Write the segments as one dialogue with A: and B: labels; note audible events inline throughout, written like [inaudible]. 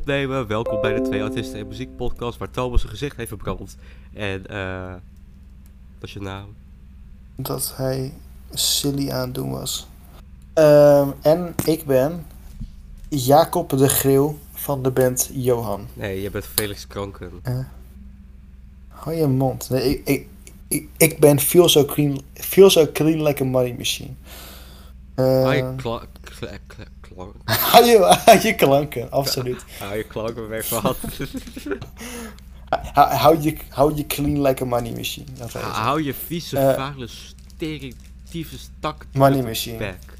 A: opnemen. Welkom bij de Twee Artiesten en Muziek podcast waar Thomas zijn gezicht heeft verbrand. En eh dat is je naam.
B: dat hij silly aan het doen was. Ehm, en ik ben Jacob de Greeuw van de band Johan.
A: Nee, je bent Felix Kranken.
B: Hou je mond. Nee, ik, ik, ik, ik ben Feel So Clean, feel so clean Like a Money Machine. Eh,
A: Hou je kla- kla- kla- klank.
B: [laughs] hou je, hou je klanken, absoluut.
A: Hou je klanken weg
B: [laughs]
A: van.
B: Hou, hou je, hou je clean like a money machine. Dat heet het.
A: Hou je vieze,
B: Eh.
A: vuile, stereotype stak.
B: Money machine.
A: Back.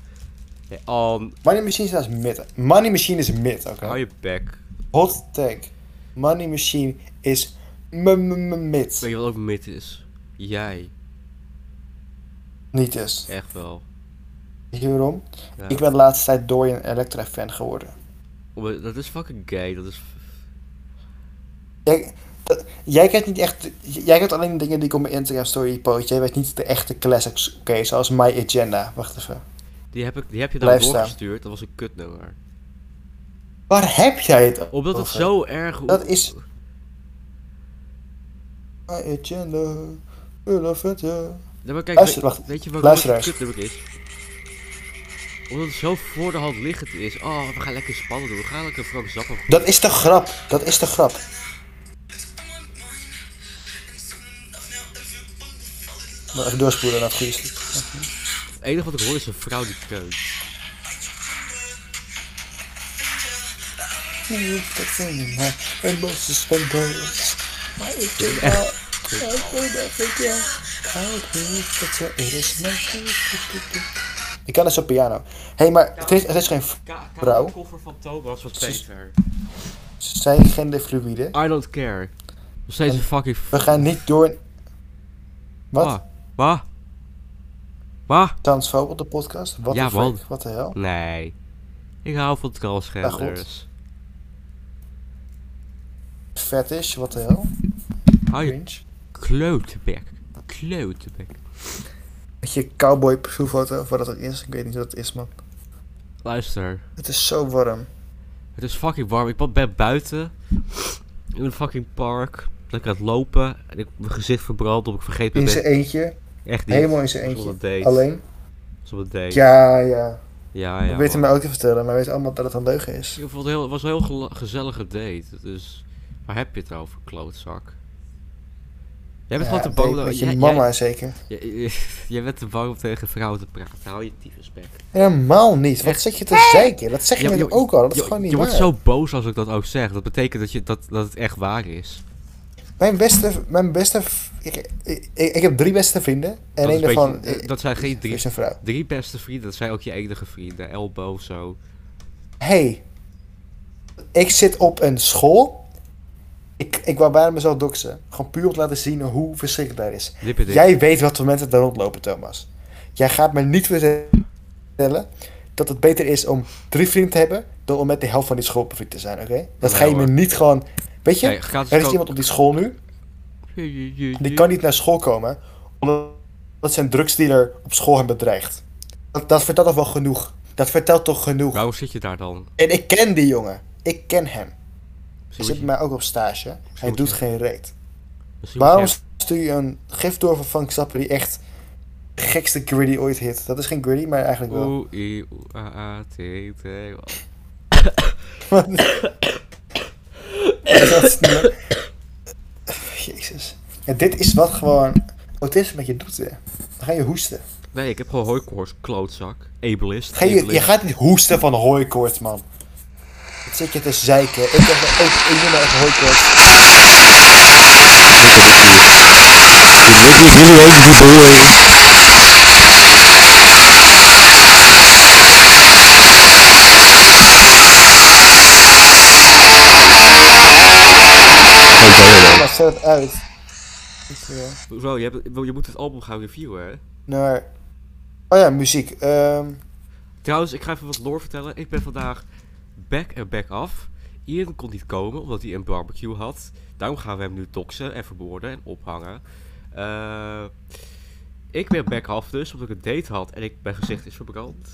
A: Nee, um,
B: Money machine staat als mid. Money machine is mid, oké.
A: hou je back.
B: Hot tag. Money machine is m- m- m- mid.
A: Weet je wat ook mid is? Jij.
B: Niet dus. is.
A: Echt wel.
B: Weet je waarom?
A: Ja.
B: Ik ben de laatste tijd door een Elektra-fan geworden.
A: Omdat- Dat is fucking gay. Dat is...
B: Jij, dat- jij kijkt niet echt... Jij kijkt alleen de dingen die ik op mijn Instagram-story post. Jij weet niet de echte classics. Oké, zoals My Agenda. Wacht even.
A: Die heb, ik, die heb je
B: Blijf
A: daar
B: staan.
A: doorgestuurd. Dat was een kutnummer.
B: Waar heb jij het
A: Omdat het
B: over?
A: zo erg...
B: Dat is- My Agenda. Will of it, yeah.
A: Nee, maar kijk,
B: Luister,
A: weet-
B: wacht.
A: weet je wat het
B: Luisteraars.
A: kutnummer is? Omdat het zo voor de hand liggend is. Oh, we gaan lekker spannend doen. We gaan lekker Frank Zappa...
B: Dat is de grap. Dat is de grap. Maar even doorspoelen naar het goede stuk.
A: Het enige wat ik hoor is een vrouw die kreunt.
B: Een bos is van boos. Maar ik doe wel. Ik doe dat ik jou houd niet. Dat zo is mijn Ik kan dus op piano. Hé, hey, maar het is, het is geen vrouw.
A: koffer van Thomas was
B: Precies.
A: beter.
B: Ze zijn genderfluïde.
A: I don't care. Nog steeds een fucking...
B: We gaan niet door een... Wat?
A: Wat? Wat?
B: Transfoob op de podcast? Wat
A: Ja,
B: een
A: man.
B: freak. Wat de hel?
A: Nee. Ik hou van transgenders.
B: Fetish, wat de hel?
A: Hou je
B: Cringe.
A: klootebek. Klootebek.
B: Met je cowboy profielfoto, of wat dat ook is. Ik weet niet wat dat is, man.
A: Luister.
B: Het is zo warm.
A: Het is fucking warm. Ik ben buiten. In een fucking park. Lekker aan het lopen. En ik heb mijn gezicht verbrand. Of ik vergeet mijn
B: In zijn
A: bed.
B: eentje.
A: Echt niet.
B: Helemaal in zijn
A: Zonder
B: eentje.
A: date.
B: Alleen.
A: Zonder date. Ja,
B: Ja, ja.
A: ja.
B: We weten
A: man.
B: mij ook te vertellen, maar we weten allemaal dat het een leugen is.
A: Ik vond het heel, het was een heel gel- gezellige date. Dus waar heb je het over, klootzak? Jij bent
B: ja,
A: gewoon te
B: weet-
A: bang.
B: Met
A: dat-
B: je
A: jij-
B: mama zeker.
A: Jij, jij- jij bent te bang om tegen vrouwen te praten. Hou je tyfusbek.
B: Helemaal niet. Wat
A: Echt.
B: zit je te zeiken? Dat zeg je
A: Ja,
B: net
A: joh,
B: ook al. Dat is
A: Je,
B: gewoon niet
A: je
B: waar.
A: wordt zo boos als ik dat ook zeg. Dat betekent dat, je, dat, dat het echt waar is.
B: Mijn beste... Mijn beste v- ik, ik, ik- ik heb drie beste vrienden. En
A: dat, is
B: één
A: een beetje-
B: daarvan
A: eh, dat zijn geen drie,
B: is een vrouw.
A: drie beste vrienden. Dat zijn ook je enige vrienden. Elbow, zo.
B: Hey. Ik zit op een school. Ik, ik wou bijna mezelf doxen. Gewoon puur om te laten zien hoe verschrikkelijk daar is.
A: Lippen dicht.
B: Jij weet wat voor mensen daar rondlopen, Thomas. Jij gaat me niet vertellen dat het beter is om drie vrienden te hebben dan om met de helft van die school bevriend te zijn, oké? Dat
A: Nee,
B: ga je me
A: hoor.
B: niet gewoon. Weet je,
A: Nee, gratis
B: er is
A: kook-
B: iemand op die school nu, die kan niet naar school komen omdat zijn drugsdealer op school hem bedreigt. Dat, dat vertelt toch wel genoeg. Dat vertelt toch genoeg.
A: Waarom zit je daar dan?
B: En ik ken die jongen. Ik ken hem.
A: Misschien
B: Hij
A: moet
B: zit bij mij ook op stage. Hij
A: moet
B: doet
A: je-
B: geen reet.
A: je- misschien moet
B: Waarom
A: je-
B: stuur je een gif door van Frank Zappa die echt de gekste gritty ooit hit? Dat is geen gritty, maar eigenlijk wel.
A: Oeh, i, oeh, ah, a, a, t, t, wat-
B: [laughs] Dat is niet- Jezus. En dit is wat gewoon autisme met je doet weer. Dan ga je hoesten.
A: Nee, ik heb gewoon hooikoorts, klootzak. Ableist.
B: Ga je, je
A: ableist.
B: gaat niet hoesten van hooikoorts, man. Wat zit je te zeiken? Ik, heb, ik, ik doe nou echt hooikoorts.
C: Jullie weten niet hoe hij is.
B: Maar zet het uit. Goed, ja.
A: Bro, je, hebt- je moet het album gaan reviewen, hè?
B: Naar... Oh ja, muziek. Ehm,
A: Trouwens, ik ga even wat lore vertellen. Ik ben vandaag back en back af. Ian kon niet komen omdat hij een barbecue had. Daarom gaan we hem nu doxen en vermoorden en ophangen. Eh, ik ben back af dus, omdat ik een date had en ik, mijn gezicht is verbrand.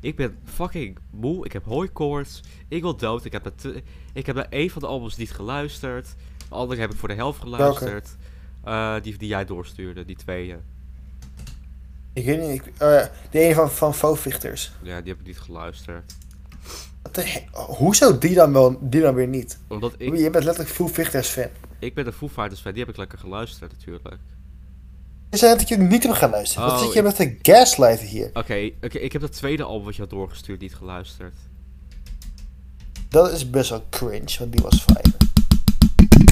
A: Ik ben fucking moe. Ik heb hooikoorts. Ik wil dood. Ik heb, naar te- ik heb naar één van de albums niet geluisterd. De andere heb ik voor de helft geluisterd. Eh, die, die jij doorstuurde, die tweeën.
B: Ik weet niet. Ik, eh, de ene van, van Fovichters.
A: Ja, die heb ik niet geluisterd.
B: Wat de he- Hoezo die dan, wel, die dan weer niet?
A: Omdat ik,
B: Je bent letterlijk Fovichters fan.
A: ik ben een Foo Fighters fan, die heb ik lekker geluisterd natuurlijk.
B: Je zei dat ik je niet heb gaan luisteren. Wat
A: Oh,
B: zit je met een gaslighter hier?
A: Oké, oké, ik heb dat tweede album wat je had doorgestuurd niet geluisterd.
B: Oh, Dat is best wel cringe, want die was fijn.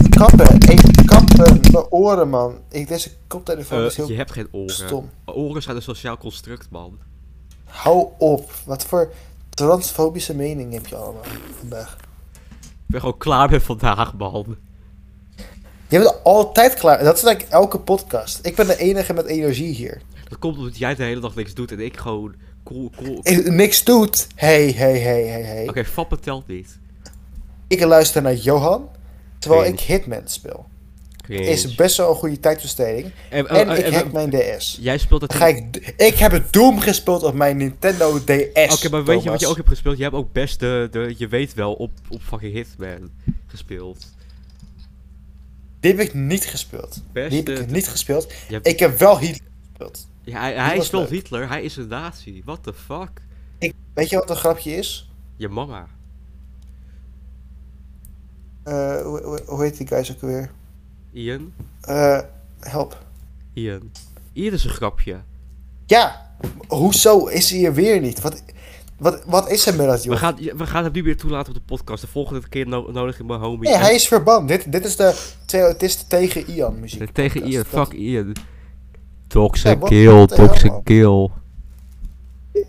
B: Kappen, ik kappen mijn oren, man. Ik, deze koptelefoon
A: Eh,
B: is heel
A: je hebt geen oren.
B: stom.
A: Oren zijn een sociaal construct, man.
B: Hou op. Wat voor transfobische mening heb je allemaal vandaag?
A: Ik ben gewoon klaar met vandaag, man.
B: Je bent altijd klaar. Dat is eigenlijk elke podcast. Ik ben de enige met energie hier.
A: Dat komt omdat jij de hele dag niks doet en ik gewoon cool, cool. Oké,
B: Eh, Niks doet. Hey, hey, hey, hey, hey.
A: fappen telt niet.
B: Ik luister naar Johan, terwijl
A: Cringe.
B: ik Hitman speel.
A: Cringe.
B: Is best wel een goede tijdbesteding.
A: En-
B: En
A: eh,
B: ik
A: eh,
B: hack mijn DS.
A: Jij speelt dat.
B: Ga ik, ik heb het Doom gespeeld op mijn Nintendo DS. Oké,
A: Oké, maar weet je wat je ook hebt gespeeld? Je hebt ook best de, de je weet wel, op, op fucking Hitman gespeeld.
B: Die heb ik niet gespeeld.
A: Beste-
B: Die heb ik niet gespeeld.
A: Je hebt-
B: Ik heb wel Hitler gespeeld.
A: ja, hij
B: die
A: hij
B: was
A: speelt
B: leuk.
A: Hitler, hij is een nazi. What the fuck?
B: Ik, weet je wat een grapje is?
A: Je mama.
B: Eh, hoe, hoe, hoe heet die guys ook weer?
A: Ian.
B: Eh, help.
A: Ian. Ian is een grapje.
B: Ja, hoezo is hij er weer niet? Wat, wat, wat is er met dat
A: We
B: joh?
A: gaan, we gaan hem nu weer toelaten op de podcast. De volgende keer no- nodig ik mijn homie.
B: Nee,
A: en-
B: hij is verband. Dit, dit is de twee autisten tegen Ian muziek.
A: Tegen
B: podcast.
A: Ian,
B: Dat-
A: fuck Ian. Toxic
B: Ja, wat-
A: kill,
B: wat de hel,
A: toxic
B: man?
A: kill.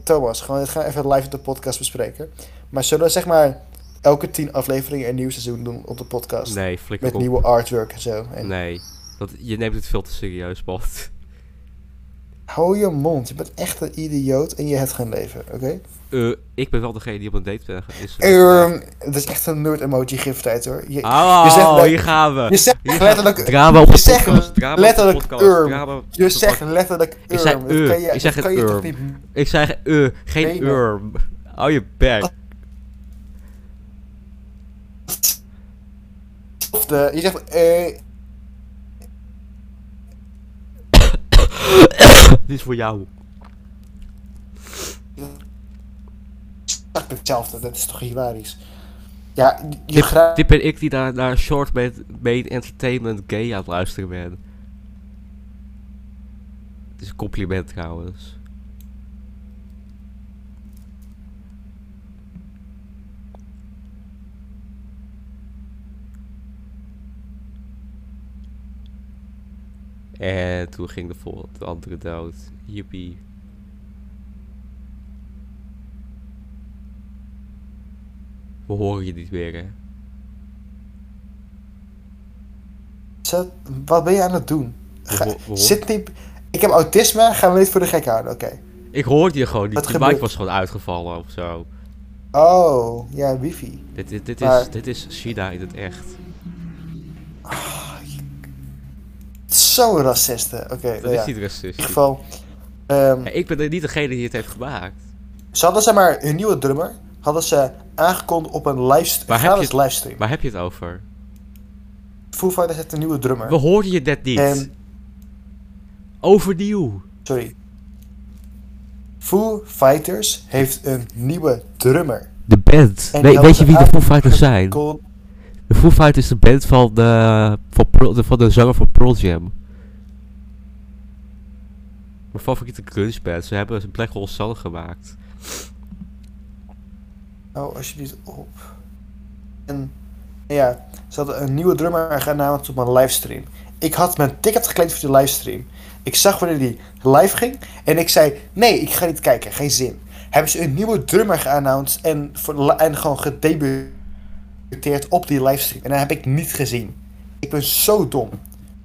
B: Thomas, gewoon, dit gaan we even live op de podcast bespreken. Maar zullen we zeg maar elke tien afleveringen een nieuw seizoen doen op de podcast?
A: Nee, flikker
B: Met
A: op.
B: nieuwe artwork en zo. En
A: Nee, dat, je neemt het veel te serieus, Bart.
B: Hou je mond. Je bent echt een idioot en je hebt geen leven, oké?
A: [laughs] Eh, ik ben wel degene die op een date ben ge- is.
B: Ehm, Het is echt een nerd emoji giftijd hoor. Je,
A: Oh,
B: je zegt le-
A: hier gaan we.
B: je zegt
A: Hier gaan-
B: letterlijk.
A: Drama op
B: je
A: de
B: zegt
A: podcast. Drama
B: letterlijk
A: op de podcast.
B: urm.
A: Drama op
B: Je
A: de
B: zegt
A: podcast.
B: letterlijk
A: Ik zei
B: urm.
A: ur.
B: Dat kan je,
A: Ik zeg het
B: dat kan je toch
A: urm.
B: niet.
A: Ik zeg, eh, geen
B: Nee, man. Ah.
A: urm. Hou je bek.
B: Of de, je zegt eh.
A: Dit is voor jou.
B: exact hetzelfde. Dat is toch hilarisch. Ja, je
A: Dit,
B: graag.
A: dit ben ik die daar naar Short Main, Main Entertainment Gay aan het luisteren ben. Het is een compliment trouwens. En toen ging de, vol- de andere dood. Yippie. We horen je niet meer, hè?
B: Zet- Wat ben je aan het doen? Ga-
A: Waarom- waarom?
B: Zit niet. Ik heb autisme, gaan we niet voor de gek houden, oké.
A: Ik hoorde je gewoon niet.
B: Wat
A: Die mic
B: gebeurt?
A: was gewoon uitgevallen of zo.
B: Oh, ja, wifi.
A: Dit, dit, dit, is,
B: Maar-
A: dit is China in het echt.
B: Zo racisten. Oké,
A: Dat
B: nou ja.
A: is niet
B: in ieder
A: racistisch.
B: geval. ehm,
A: Ja, ik ben er niet degene die het heeft gemaakt.
B: Ze hadden zeg maar hun nieuwe drummer hadden ze aangekondigd op een livestream.
A: Waar
B: Gaan
A: heb,
B: we
A: je het,
B: eens livestream.
A: waar heb je het over?
B: Foo Fighters heeft een nieuwe drummer.
A: We hoorden je net niet.
B: Ehm,
A: Overnieuw.
B: sorry. Foo Fighters heeft een nieuwe drummer.
A: De band.
B: En die hadden ze aangekondigd-
A: De Foo Fighters is de band van de, van, de, van de zanger van Pearl Jam. Mijn favoriete grunge-band. Ze hebben een Black Hole Sun gemaakt.
B: Oh, alsjeblieft op. En en ja, ze hadden een nieuwe drummer genaamd op een livestream. Ik had mijn ticket geclaimd voor die livestream. Ik zag wanneer die live ging en ik zei: Nee, ik ga niet kijken, geen zin. Hebben ze een nieuwe drummer geannounced en, voor, li- en gewoon gedebuteerd op die livestream. En dat heb ik niet gezien. Ik ben zo dom.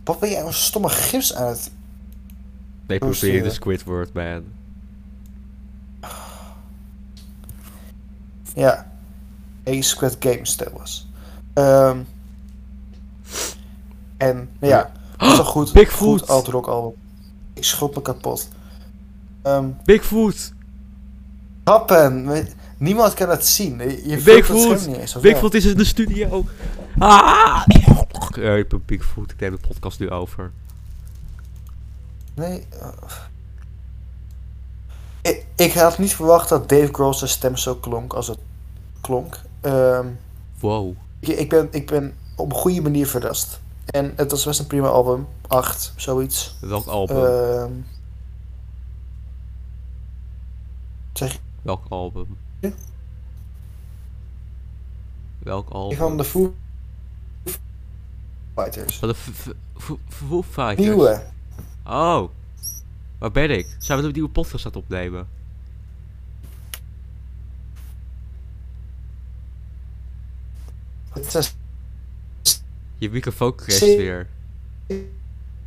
B: Wat ben jij een stomme gips aan het.
A: Nee,
B: Oh,
A: probeer de
B: shit.
A: Squidward, man.
B: Ja. Ace Squid Games, dat was. Ehm, en nou ja, dat is een
A: [gasps]
B: goed,
A: Bigfoot.
B: goed alt rock album. Ik schop me kapot. Ehm,
A: Bigfoot!
B: happen. We- Niemand kan het zien. Je- Je voelt het
A: Bigfoot!
B: scherm niet eens. of wel?
A: Bigfoot is in de studio! Ah! Eh, ik ben Bigfoot, ik neem de podcast nu over.
B: Nee. eh. Ik, ik had niet verwacht dat Dave Grohl zijn stem zo klonk als het klonk. Ehm,
A: Wow.
B: ik, ik, ben, ik ben op een goede manier verrast. En het was best een prima album. Acht, zoiets.
A: Welk album?
B: Ehm zeg
A: Welk album?
B: Ja.
A: Welk
B: je
A: album?
B: van de Foo Fighters?
A: Van de F- F- F- Foo Fighters.
B: Nieuwe.
A: Oh. Waar ben ik? Zijn we een nieuwe podcast aan het opnemen?
B: Het is
A: Je microfoon crasht
B: Zie-
A: weer.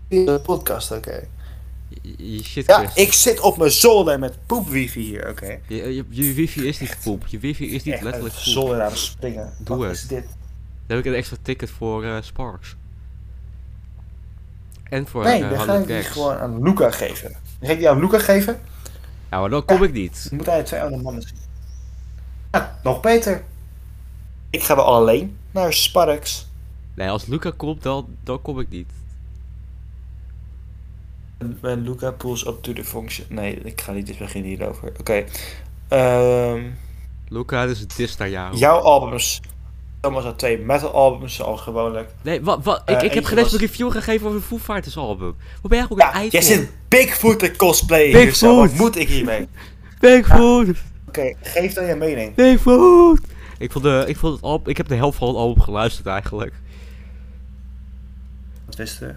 B: een podcast, oké.
A: Je, je shit
B: Ja,
A: crasht.
B: ik zit op mijn zolder met poepwifi hier, oké.
A: Je, je, je wifi is niet poep. Je wifi is niet
B: Echt
A: letterlijk
B: uit de
A: poep.
B: zolder aan het springen.
A: Doe
B: Wat
A: het.
B: is dit?
A: Dan heb ik een extra ticket voor eh, Sparks. En voor
B: Nee,
A: eh,
B: dan ga
A: 100
B: ik die
A: gags.
B: gewoon aan Luca geven. Dan ga ik die aan Luca geven.
A: Ja, maar dan kom ik niet.
B: Dan moet hij twee andere mannen zien. Ja, nog beter. Ik ga wel alleen naar Sparks.
A: Nee, als Luca komt, dan, dan kom ik niet.
B: When Luca pulls up to the function. Nee, ik ga niet dus beginnen hierover. Oké. Ehm,
A: Luca is een dis naar jou.
B: jouw albums. Thomas had twee metal albums, zoals gewoonlijk.
A: Nee, wat, wat,
B: Eh,
A: ik, ik heb
B: eentje
A: geen eens
B: was-
A: een review gegeven over een Foo Fighters album. Hoe ben jij ook een
B: Ja,
A: eikel?
B: jij zit Bigfoot te cosplayen
A: Bigfoot.
B: hier zo. Wat moet ik hiermee? Oké,
A: Bigfoot!
B: geef dan je mening.
A: Bigfoot! Ik vond, de, ik vond het album, ik heb de helft van het album geluisterd eigenlijk.
B: Wat wist je?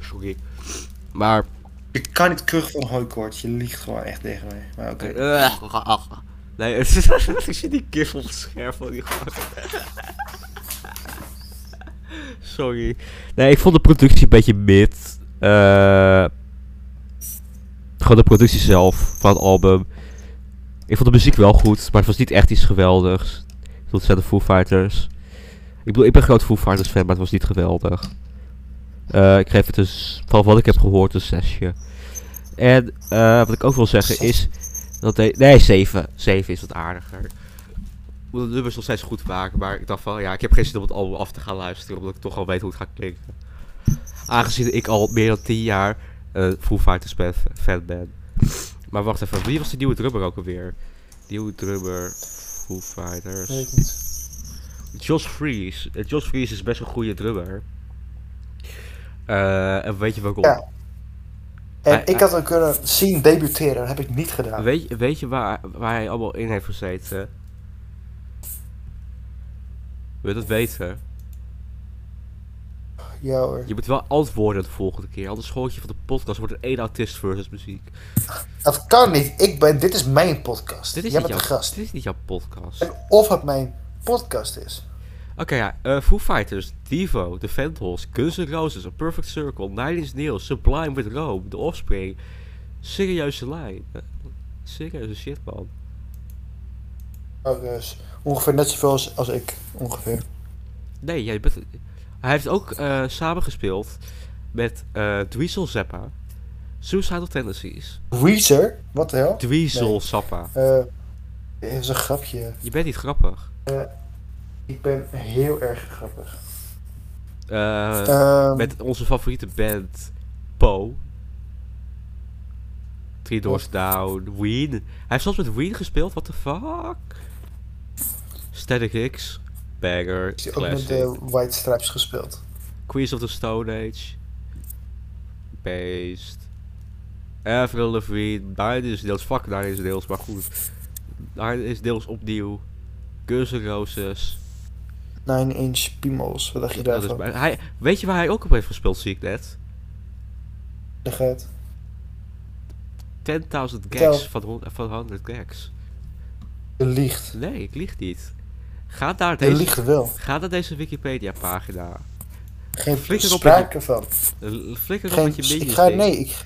A: Sorry. Maar...
B: Je kan niet terug van hooikoorts. Je liegt gewoon echt tegen mij. Maar oké.
A: eh, nee, [laughs] het is- ik zie die gif op het scherm van die gast. Sorry. Nee, ik vond de productie een beetje mid. Eh, gewoon de productie zelf van het album. Ik vond de muziek wel goed, maar het was niet echt iets geweldigs. Ik bedoel, het zijn de Foo Fighters. Ik bedoel, ik ben groot Foo Fighters fan, maar het was niet geweldig. Eh, ik geef het dus, van wat ik heb gehoord, een zesje. En eh, wat ik ook wil zeggen is dat de, nee, 7. 7 is wat aardiger. Omdat de nummers nog steeds goed waren, maar ik dacht van ja, ik heb geen zin om het album af te gaan luisteren, omdat ik toch al weet hoe het gaat klinken. Aangezien ik al meer dan 10 jaar eh Foo Fighters ben, fan ben. Maar wacht even, wie was de nieuwe drummer ook alweer? Nieuwe drummer, Foo Fighters.
B: Weet ik niet.
A: Josh Fries. Eh, Josh Fries is best een goede drummer. Eh, en weet je waarom?
B: Ja. En
A: Hij-
B: ik had hem kunnen zien debuteren. Dat heb ik niet gedaan.
A: Weet, weet je waar, waar hij allemaal in heeft gezeten? Wil je dat weten?
B: Ja hoor.
A: Je moet wel antwoorden de volgende keer, anders schooltje van de podcast wordt er één autist versus muziek.
B: Dat kan niet. Ik ben, dit is mijn podcast.
A: Dit is,
B: Jij
A: niet
B: bent
A: jouw,
B: de gast.
A: dit is niet jouw podcast. Oké,
B: En of het mijn podcast is.
A: ja. eh, Foo Fighters, Devo, The Vandals, Guns N' Roses, A Perfect Circle, Nine Inch Nails, Sublime with Rome, The Offspring. Serieuze lijn. Eh, serieuze shit, man.
B: Oh, dus ongeveer net zoveel als, als ik. Ongeveer.
A: Nee, jij bent... Hij heeft ook eh samengespeeld met eh Dweezil Zappa, Suicidal Tendencies,
B: Weezer? Wat de hel?
A: Dweezil
B: Nee.
A: Zappa.
B: Eh, dit is een grapje.
A: Je bent niet grappig.
B: Ik ben heel erg grappig.
A: Eh,
B: Ehm,
A: met onze favoriete band, Poe. Three Doors Down, Ween. Hij heeft zelfs met Ween gespeeld, what the fuck? Static X, Banger,
B: is hij ook met eh,
A: Classic.
B: de White Stripes gespeeld.
A: Queens of the Stone Age. Beest. Avril Lavigne. Nine is deels. Fuck Nine is deels, maar goed. Nine is deels opnieuw. Guns N' Roses.
B: Nine Inch Piemels. Wat dacht je
A: Dat is
B: daarvan?
A: bij- hij, weet je waar hij ook op heeft gespeeld, zie ik net?
B: Leg uit.
A: 10.000
B: Vertel.
A: gags van, hon- van 100 gags.
B: Je liegt.
A: Nee, ik lieg niet. Ga naar
B: Je
A: deze,
B: liegt wel.
A: ga naar deze Wikipedia pagina.
B: Geen
A: Flikker op
B: sprake van.
A: Flikker op
B: Geen,
A: met je minions
B: ik ga,
A: ding.
B: nee, ik...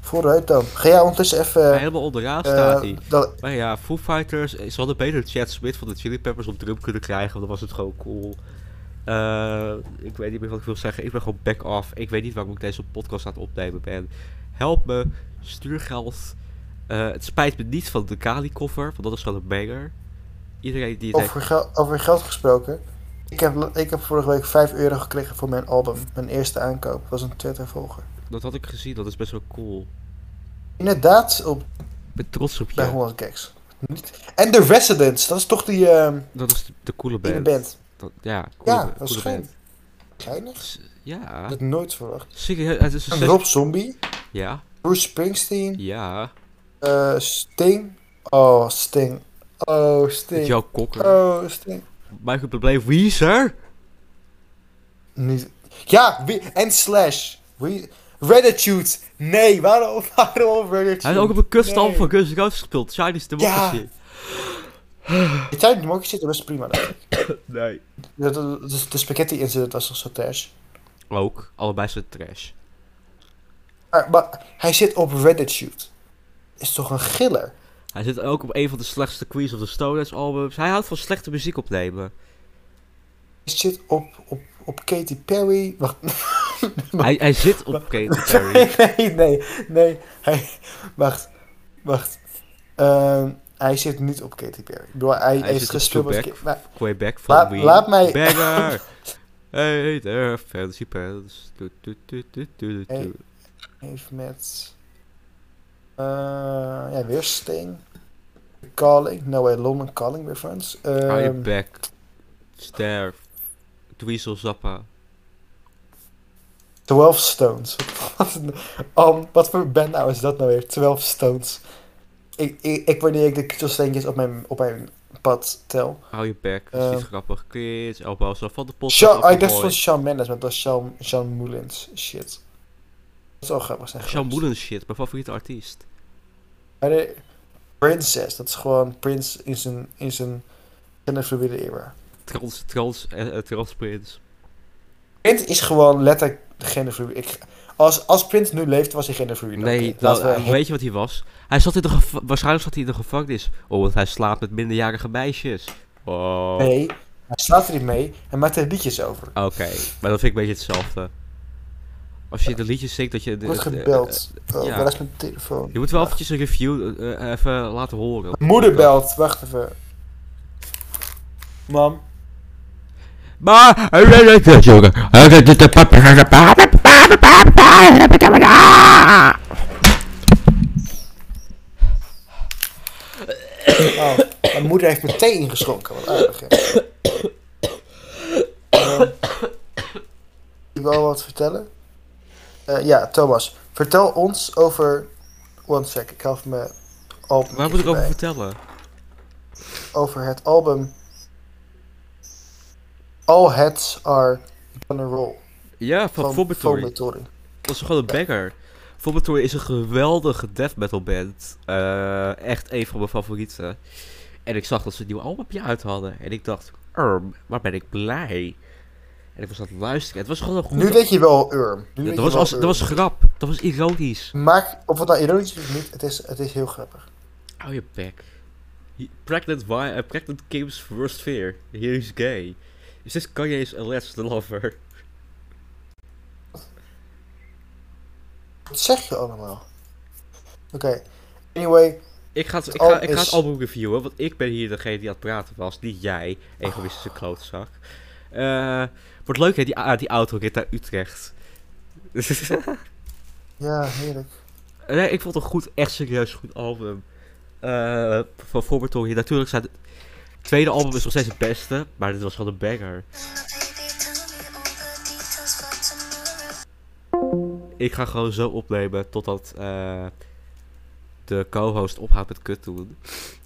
B: Vooruit dan. Ga jij ondertussen even...
A: Helemaal onderaan
B: eh,
A: staat hij.
B: dat,
A: Maar ja, Foo Fighters, eh, ze hadden beter Chad Smith van de Chili Peppers op drum kunnen krijgen, want dan was het gewoon cool. Eh, ik weet niet meer wat ik wil zeggen, ik ben gewoon back off. Ik weet niet waarom ik deze podcast aan het opnemen ben. help me, stuur geld. Eh, het spijt me niet van de Kali-koffer, want dat is gewoon een banger. Iedereen die het heeft...
B: Over, gel- over geld gesproken. Ik heb, la- ik heb vorige week 5 euro gekregen voor mijn album. Mijn eerste aankoop was een Twitter-volger.
A: Dat had ik gezien, dat is best wel cool.
B: Inderdaad, op,
A: Ik ben trots op
B: bij
A: je.
B: 100 Keks. Niet- En The Residents, dat is toch die ehm
A: Dat is de, de coole
B: ene
A: band.
B: band.
A: Dat- ja, coole,
B: Ja,
A: ba-
B: dat is
A: coole
B: geen.
A: band.
B: Geinig.
A: S- Ja.
B: Ik had nooit verwacht.
A: Serieus, het is een
B: En
A: zes-
B: Rob Zombie,
A: Ja,
B: Bruce Springsteen,
A: ja.
B: eh, Sting. Oh, Sting. Oh, Sting.
A: Jouw kokker.
B: Oh, Sting.
A: Michael Bublé, Weezer.
B: Niet... Ja, wie... en Slash. Wie... Reditude. Nee, waarom, [laughs] waarom Reditude?
A: Hij heeft ook op een kutstap
B: Nee.
A: van Guns N' Roses gespeeld. Chinese Democracy.
B: Het zijn democratie best prima. denk
A: [coughs]
B: ik.
A: Nee.
B: Dat- dat- dat- De, spaghetti incident was toch zo trash.
A: Ook. Allebei zijn trash.
B: Maar, maar hij zit op Reditude. Is toch een giller?
A: Hij zit ook op een van de slechtste Queens of the Stone Age albums. Hij houdt van slechte muziek
B: [laughs]
A: opnemen.
B: Hij zit op, op, op Katy Perry. Wacht, [laughs]
A: Hij, hij zit op Katy Perry.
B: nee, nee, nee. Hij, wacht, wacht. Ehm, hij zit niet op Katy Perry. Ik bedoel, hij,
A: Hij
B: heeft
A: zit op
B: gespeeld met...
A: Tupac.
B: Ka- maar-
A: Quebec van
B: Laat-
A: Wien.
B: laat mij-
A: Banger. Hey there, fancy pants. Du- du- du- du- du- du-
B: Hey. heeft met. eh ja, weer Sting. Calling. No way, London Calling weer friends.
A: Are you
B: Ehm,
A: back? Sterf. Dweezel Zappa.
B: 12 Stones. [laughs] Wat een- Am, wat voor band nou is dat nou weer? 12 Stones. Ik, ik, ik wanneer ik de kietelsteentjes op mijn, op mijn pad tel.
A: Hou je back. Dat is niet
B: Eh.
A: grappig. Kids. Elbows af van de pot.
B: Sean, oh, ik dacht van Sean Mendes, maar dat is Sean, Sean Moulins. Shit. Dat zou grappig zijn.
A: Sean Moulin shit. Mijn favoriete artiest.
B: Maar de Princess, dat is gewoon Prince in zijn, in zijn genderfluide era.
A: Trans, trans, eh, eh, transprins.
B: Print is gewoon letterlijk de genderfluid. Ik, als, als Print nu leeft, was hij genderfluid.
A: Nee,
B: Oké,
A: nou,
B: laten we-
A: eh, weet je wat hij was? Hij zat in de geva- waarschijnlijk zat hij in de gevangenis. Oh, want hij slaapt met minderjarige meisjes. Oh.
B: nee, hij staat er niet mee en maakt er liedjes over.
A: Oké, maar dat vind ik een beetje hetzelfde. Als je de liedjes zingt, dat je...
B: Ik word
A: eh, eh,
B: gebeld. Oh,
A: ja.
B: waar is mijn telefoon?
A: Je moet wel eventjes een review eh, eh, even laten horen.
B: Moeder belt, wacht even. Mam.
A: Maar... eh, jongen.
B: Oh, mijn moeder heeft me thee ingeschonken, wat aardig hè. Ehm, [coughs] je wil wat vertellen? Eh, ja, Thomas, vertel ons over... One sec, ik help me... album
A: Waar moet ik over
B: erbij.
A: vertellen?
B: over het album All Heads Are Gonna Roll
A: Ja, van, Vomitory.
B: Vomitory.
A: Dat is gewoon een banger. Vomitory is een geweldige death metal band. Eh, echt een van mijn favorieten. En ik zag dat ze een nieuw albumpje uit hadden. En ik dacht, erm, waar ben ik blij. En ik was aan het luisteren. Het was gewoon een goed...
B: Nu weet je wel Urm. Nu weet
A: dat,
B: je
A: was
B: wel
A: als, dat
B: Urm.
A: was grap. Dat was ironisch.
B: Maak, of het nou ironisch is of niet, het is, het is heel grappig.
A: Hou je bek. He- Pregnant, wi- eh, pregnant Kim's worst fear. He is gay. Is this Kanye's alleged lover?
B: Wat zeg je allemaal? Oké, anyway,
A: Ik ga, het, ik,
B: al
A: ga, ik ga
B: is-
A: het album reviewen, want ik ben hier degene die aan het praten was, niet jij, egoïstische
B: Ah.
A: klootzak. Eh, wordt leuk hè, die, ah, die autorit naar Utrecht. [laughs]
B: ja, heerlijk.
A: nee, ik vond het een goed, echt serieus goed album. Eh van Formatori. Natuurlijk zijn het het tweede album is nog steeds het beste, maar dit was gewoon een banger. Ik ga gewoon zo opnemen totdat eh, de co-host ophoudt met kut doen.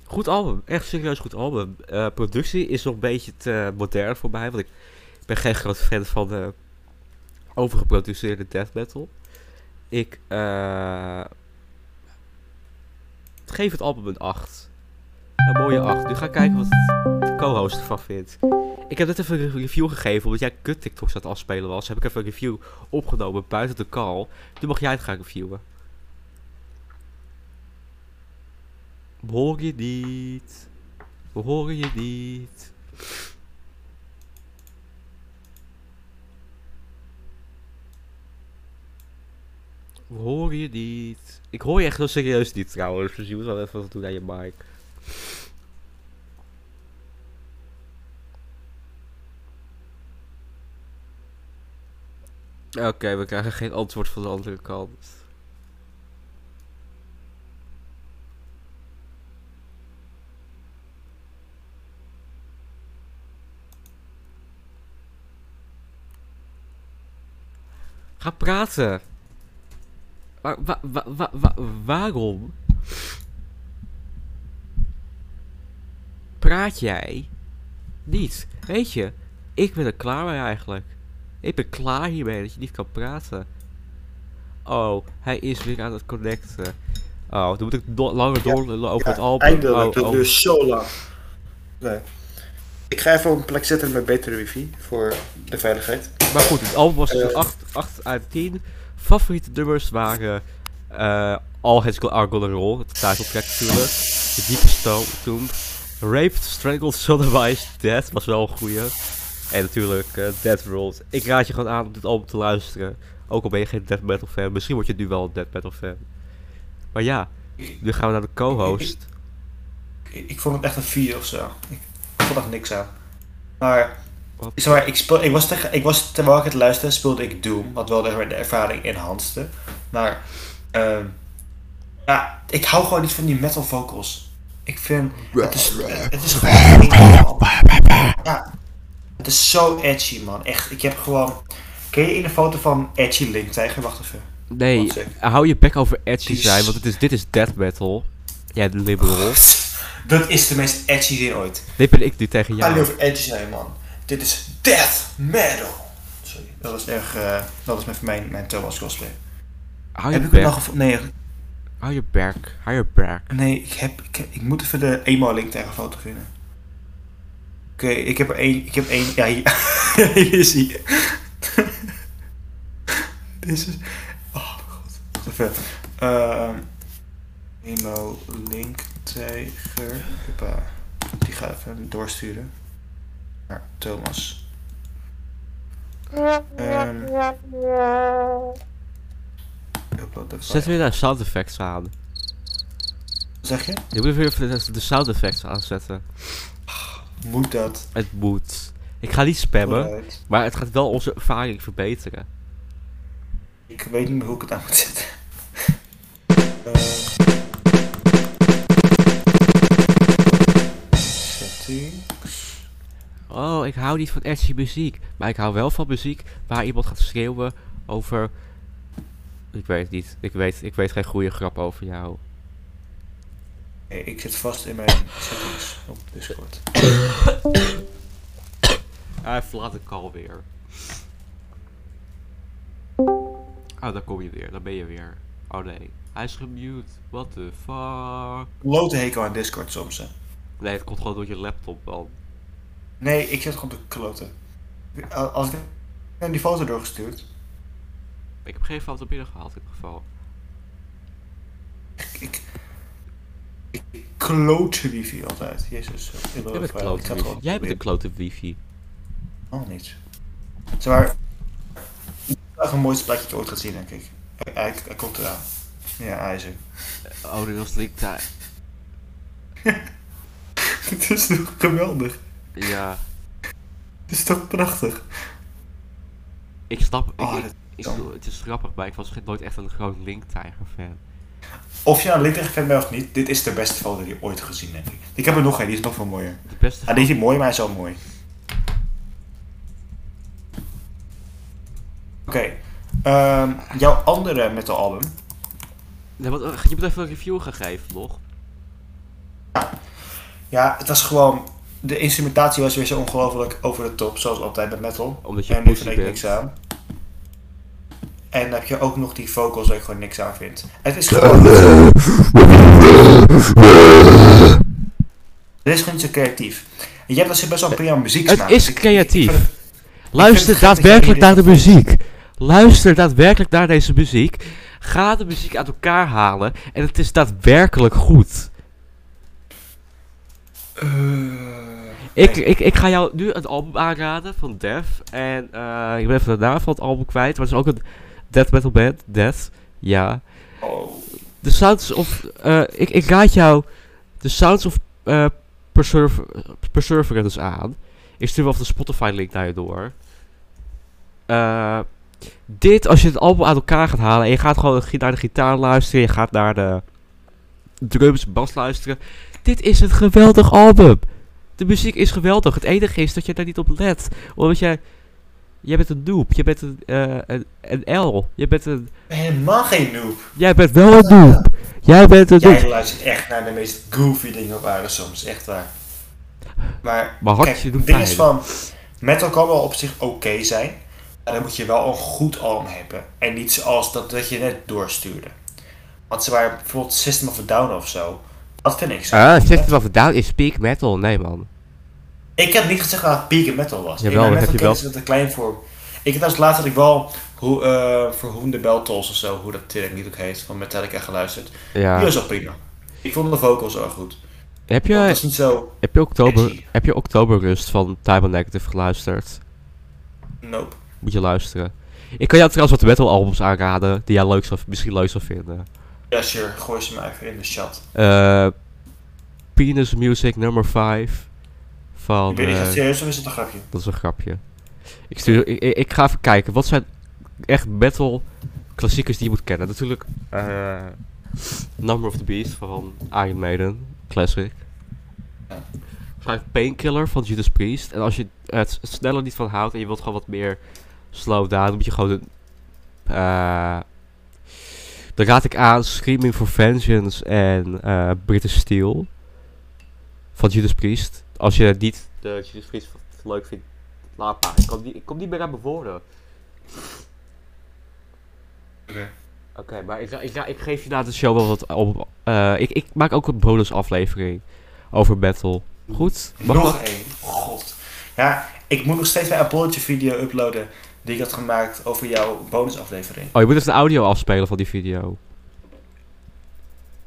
A: Goed album, echt serieus goed album. Eh, productie is nog een beetje te modern voor mij, want ik ben geen groot fan van de overgeproduceerde death metal. Ik eh, geef het album een 8. Een mooie 8. Nu ga ik kijken wat de co-host ervan vindt. Ik heb net even een review gegeven, omdat jij kut TikToks aan het afspelen was. Heb ik even een review opgenomen buiten de call. Nu mag jij het gaan reviewen. We horen je niet. We horen je niet. We horen je niet. Ik hoor je echt heel serieus niet trouwens, dus je moet wel even wat doen aan je mic. Oké, we krijgen geen antwoord van de andere kant. Ga praten. Waar, wa- wa- wa- wa- waarom? Praat jij? Niet. Weet je, ik ben er klaar mee eigenlijk. Ik ben klaar hiermee dat je niet kan praten. Oh, hij is weer aan het connecten. Oh, dan moet ik do- langer
B: Ja,
A: door over
B: Ja,
A: het album.
B: Eindelijk,
A: Oh,
B: dat
A: oh.
B: duurt zo lang. Nee. Ik ga even op een plek zetten met betere wifi voor de veiligheid.
A: Maar goed, het album was dus
B: Eh.
A: 8, 8 uit 10. Favoriete nummers waren eh All Heads Go- Are Gonna Roll, het titeltrack natuurlijk. The Deepest Tomb- Tomb. Raped, Strangled, Sodomized, Dead was wel een goeie. En natuurlijk eh, Dead World. Ik raad je gewoon aan om dit album te luisteren. Ook al ben je geen death metal fan. Misschien word je nu wel een death metal fan. Maar ja, nu gaan we naar de co-host.
B: Ik, ik vond het echt een 4 of zo. Ik, ik vond echt niks aan. Maar,
A: Wat?
B: zeg maar ik, speel, ik, was tegen, ik was terwijl ik het luisterde, speelde ik Doom. Wat wel zeg maar, de ervaring enhanced. Maar, ehm, ja, ik hou gewoon niet van die metal vocals. Ik vind, het is, het is gewoon... Ja, het is zo edgy, man. Echt, ik heb gewoon... Ken je in de foto van Edgy Link tegen? Wacht even.
A: Nee,
B: Wat zeg je?
A: hou je bek over edgy
B: Die
A: zijn,
B: s-
A: want het is, dit is death metal. Jij de liberal.
B: Dat is de meest edgy zin ooit.
A: Dit ben ik nu tegen
B: Ja.
A: jou.
B: Alleen over edgy zijn, man. Dit is death metal. Sorry, dat was erg... eh, dat was met mijn, mijn Thomas cosplay.
A: Hou
B: heb
A: je
B: ik het nog
A: bek.
B: gevonden? Nee,
A: Hou je bek. Hou je bek.
B: nee ik, heb, ik, heb- ik moet even de emo Link tegen foto vinden. Oké, ik heb er één... Ik heb één... Ja, hier, [laughs] hier is hij. [laughs] Dit is... Oh, god. Even... Ehm emo Link tegen... Hoppa. Die ga ik even doorsturen. Naar Thomas. Ehm hoppa, dat
A: Zet weer naar sound effects aan.
B: Zeg je?
A: Je moet weer even de- de sound effects aanzetten.
B: Moet dat?
A: Het moet. Ik ga niet spammen,
B: Vooruit.
A: maar het gaat wel onze ervaring verbeteren.
B: Ik weet niet meer hoe ik het aan moet zetten. Eh. Settings.
A: Oh, ik hou niet van edgy muziek, maar ik hou wel van muziek waar iemand gaat schreeuwen over... Ik weet het niet. Ik weet, ik weet geen goede grap over jou.
B: Hey, ik zit vast in mijn settings op Discord.
A: Hij verlaat de call weer. Oh, daar kom je weer. Daar ben je weer. Oh nee. Hij is gemute. What the fuck?
B: Lote hekel aan Discord soms, hè.
A: Nee, het komt gewoon door je laptop, man.
B: Nee, ik zit gewoon te kloten. Als ik hem die foto doorgestuurd.
A: Ik heb geen foto binnengehaald in ieder geval.
B: Ik, ik klote wifi altijd. Jezus.
A: Jij
B: Ik
A: bent
B: had
A: klote wifi.
B: gewoon-
A: Jij bent een klote wifi.
B: Al niet. Zeg maar, dat is een mooiste plekje dat ik ooit gaat zien, denk ik. Hij, hij, hij komt eraan. Ja, hij is er. [laughs]
A: Oh, dit was link daar.
B: Het is toch geweldig?
A: Ja.
B: Het is toch prachtig?
A: Ik snap... Ik,
B: Oh,
A: ik-
B: dat
A: ik
B: kan.
A: bedoel, het is grappig, maar ik was geen- nooit echt een groot Link Tiger fan.
B: Of je nou een fan bent of niet, dit is de beste foto die je ooit gezien denk ik. Ik heb er nog een, die is nog veel mooier.
A: De beste
B: Ah, deze is mooi, maar hij is al mooi. Oké, ehm, jouw andere metal album.
A: Nee, want, eh, je moet even een review gaan geven, nog.
B: Ja, het was gewoon... De instrumentatie was weer zo ongelooflijk over de top, zoals altijd bij metal.
A: Omdat je
B: En nu
A: pussy
B: vind ik
A: bent.
B: niks aan. En dan heb je ook nog die vocals waar ik gewoon niks aan vind. Het is gewoon... Het is gewoon niet zo creatief. En jij hebt dus best wel een prima muziek
A: Het is creatief.
B: vind
A: Luister
B: het gek dat je
A: daadwerkelijk
B: hier
A: naar de
B: dit
A: muziek. Luister daadwerkelijk naar deze muziek. Ga de muziek uit elkaar halen en het is daadwerkelijk goed. Ik,
B: Nee.
A: ik, ik ga jou nu een album aanraden van Def. En eh, ik ben even de naam van het album kwijt. Maar het is ook een death metal band, Death. Ja.
B: Oh.
A: The Sounds of... eh, ik, ik raad jou The Sounds of eh Perserv- Perseverance aan. Ik stuur wel even de Spotify-link naar je door. Eh, dit, als je het album uit elkaar gaat halen... en je gaat gewoon gi- naar de gitaar luisteren... je gaat naar de drums, bas luisteren... Dit is een geweldig album. De muziek is geweldig. Het enige is dat je daar niet op let. Omdat jij... Jij bent een noob. Je bent een, eh, een, een L. Je bent een...
B: Helemaal geen noob.
A: Jij bent wel een noob. Jij bent een noob.
B: Jij luistert echt naar de meest goofy dingen op aarde soms, echt waar. Maar,
A: Maar hartje
B: kijk,
A: doet
B: het ding is
A: pijn.
B: van, metal kan wel op zich oké zijn, maar dan moet je wel een goed album hebben. En niet zoals dat, dat je net doorstuurde. Want ze waren bijvoorbeeld System of a Down of zo. Dat vind ik zo.
A: Ah, System of a Down is peak metal. Nee, man.
B: Ik heb niet gezegd dat het peak metal was.
A: Jawel, dat
B: in mijn
A: heb je wel.
B: metal kennis is dat een klein voor. Ik heb als laatst had ik wel hoe, eh voor Whom the Bell Tolls of zo, hoe dat tering niet ook heet, van Metallica geluisterd. Die
A: Ja.
B: was wel prima. Ik vond de vocals wel goed.
A: Heb
B: Dat
A: je,
B: is niet zo...
A: heb je, oktober,
B: Edgy.
A: heb je Oktoberrust van Time on Negative geluisterd?
B: Nope.
A: Moet je luisteren. Ik kan jou trouwens wat metal albums aanraden die jij leuk zou, misschien leuk zou vinden.
B: Ja, sure. Gooi ze maar even in de chat.
A: Eh Penis Music nummer 5. Van,
B: ik weet niet, is
A: eh,
B: het serieus of is het een grapje?
A: dat is een grapje. Ik, stuur, ik, ik- ik ga even kijken. Wat zijn echt metal klassiekers die je moet kennen? Natuurlijk eh, Number of the Beast van Iron Maiden. Classic.
B: Ja.
A: Schrijf Painkiller van Judas Priest. En als je het sneller niet van houdt en je wilt gewoon wat meer slow down, dan moet je gewoon. Een, eh, dan raad ik aan Screaming for Vengeance en eh British Steel van Judas Priest. Als je niet de Judas Priest v- leuk vindt, laat maar. Ik kom niet, ik kom niet meer aan mijn woorden. Oké,
B: Oké.
A: maar ik, ik, ik geef je na de show wel wat op. eh, ik, ik maak ook een bonus aflevering over battle. Goed? Mag dat?
B: Nog één. God. Ja, ik moet nog steeds mijn Apology video uploaden die ik had gemaakt over jouw bonusaflevering.
A: Oh, je moet even de audio afspelen van die video.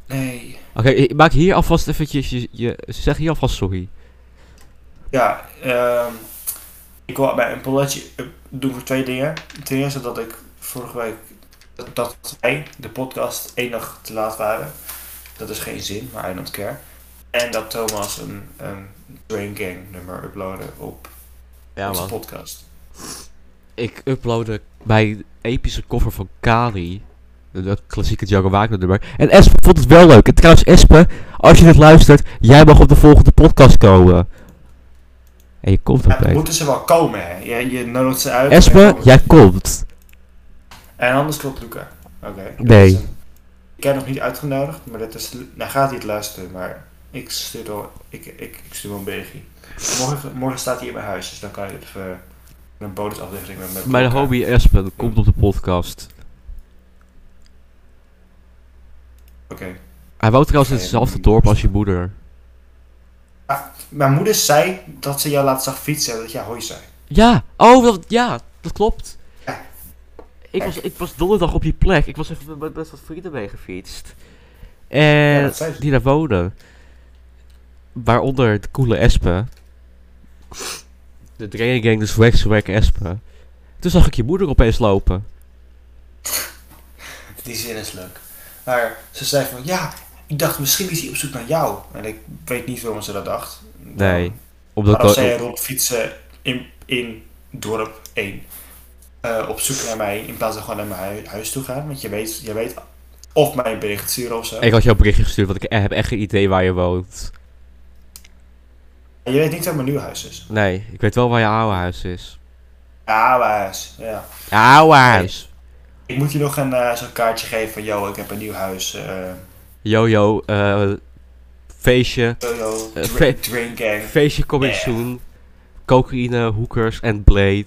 B: Nee.
A: Oké, ik maak hier alvast eventjes je, je zeg hier alvast sorry.
B: Ja, ehm ik wil mijn Apology up doen voor twee dingen. Ten eerste dat ik vorige week, dat, dat wij de podcast één dag te laat waren. Dat is geen zin, maar I don't care. En dat Thomas een, een Drain Gang nummer uploadde op onze podcast.
A: Ik uploadde mijn epische cover van Kali. Dat klassieke Django Wagner nummer. En Espe vond het wel leuk. En trouwens, Espe, als je dit luistert, jij mag op de volgende podcast komen. En je komt
B: Ja,
A: ook
B: dan
A: bij.
B: moeten ze wel komen, hè? Je, je nodigt ze uit.
A: Espe, jij komt.
B: En anders klopt Luca. Oké. dat
A: Nee.
B: is een- Ik heb nog niet uitgenodigd, maar dat is, nou gaat hij het luisteren, maar ik stuur wel, ik, ik, ik stuur wel een berichtje. Morgen, morgen staat hij in mijn huis, dus dan kan je even een bonusaflevering met met
A: Mijn
B: Luca.
A: hobby Espe komt op de podcast.
B: Oké.
A: Hij woont trouwens in hetzelfde dorp als je moeder.
B: Mijn moeder zei dat ze jou laatst zag fietsen en dat jij hoi zei.
A: Ja, oh, dat, ja, dat klopt.
B: Ja.
A: Ik was, ik was donderdag op die plek. Ik was even met best wat vrienden mee gefietst. En
B: Ja, dat zei ze.
A: Eh, die daar wonen. Waaronder de coole Espen. De Drain Gang, de Swag Swag Espen. Toen zag ik je moeder opeens lopen.
B: Die zin is leuk. Maar ze zei van ja, ik dacht misschien is hij op zoek naar jou. En ik weet niet waarom ze dat dacht.
A: Nee. Omdat
B: Waarom
A: ik,
B: zij erop fietsen in, in dorp 1 eh, op zoek naar mij in plaats van gewoon naar mijn hui- huis toe gaan? Want je weet, je weet of mij een bericht sturen of zo.
A: ik had jou een berichtje gestuurd, want ik heb echt geen idee waar je woont.
B: En je weet niet waar mijn nieuw huis is.
A: Nee, ik weet wel waar je oude huis is.
B: Ja, mijn huis. Ja.
A: Je oude huis!
B: Ik moet je nog een, eh, zo'n kaartje geven van yo, ik heb een nieuw huis. eh
A: Jojo, eh... Feestje,
B: yo,
A: Eh,
B: dra-
A: fe-
B: drink gang.
A: Feestje coming
B: Yeah.
A: soon. Cocaïne, hookers en Blade.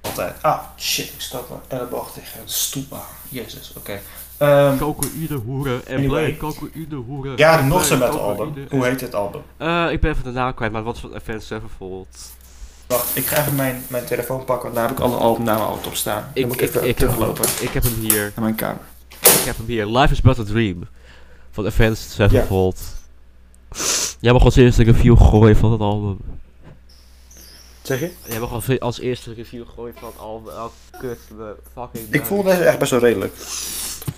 B: Altijd. Ah, shit, ik stak mijn elleboog tegen een stoep aan. Jezus, oké. Ehm,
A: Cocaïne, hoeren en
B: Anyway.
A: Blade. Cocaïne, hoeren
B: ja,
A: en
B: nog zo'n
A: Blade,
B: metal album.
A: cocaïne
B: Hoe
A: en-
B: heet dit album?
A: Eh, ik ben even de naam kwijt, maar wat is van Event Sevenfold?
B: Wacht, ik ga even mijn, mijn telefoon pakken, want daar heb ik alle albumnamen altijd op staan. Dan
A: Ik,
B: moet ik
A: ik,
B: even
A: ik, heb,
B: teruglopen.
A: ik heb hem hier.
B: naar mijn kamer.
A: Ik heb hem hier. Life is but a dream. Van Event Sevenfold. Jij mag als eerste een review gooien van het album.
B: Zeg je?
A: We hebben gewoon als eerste review gegooid van al welke kut we fucking...
B: Ik vond deze echt best wel redelijk.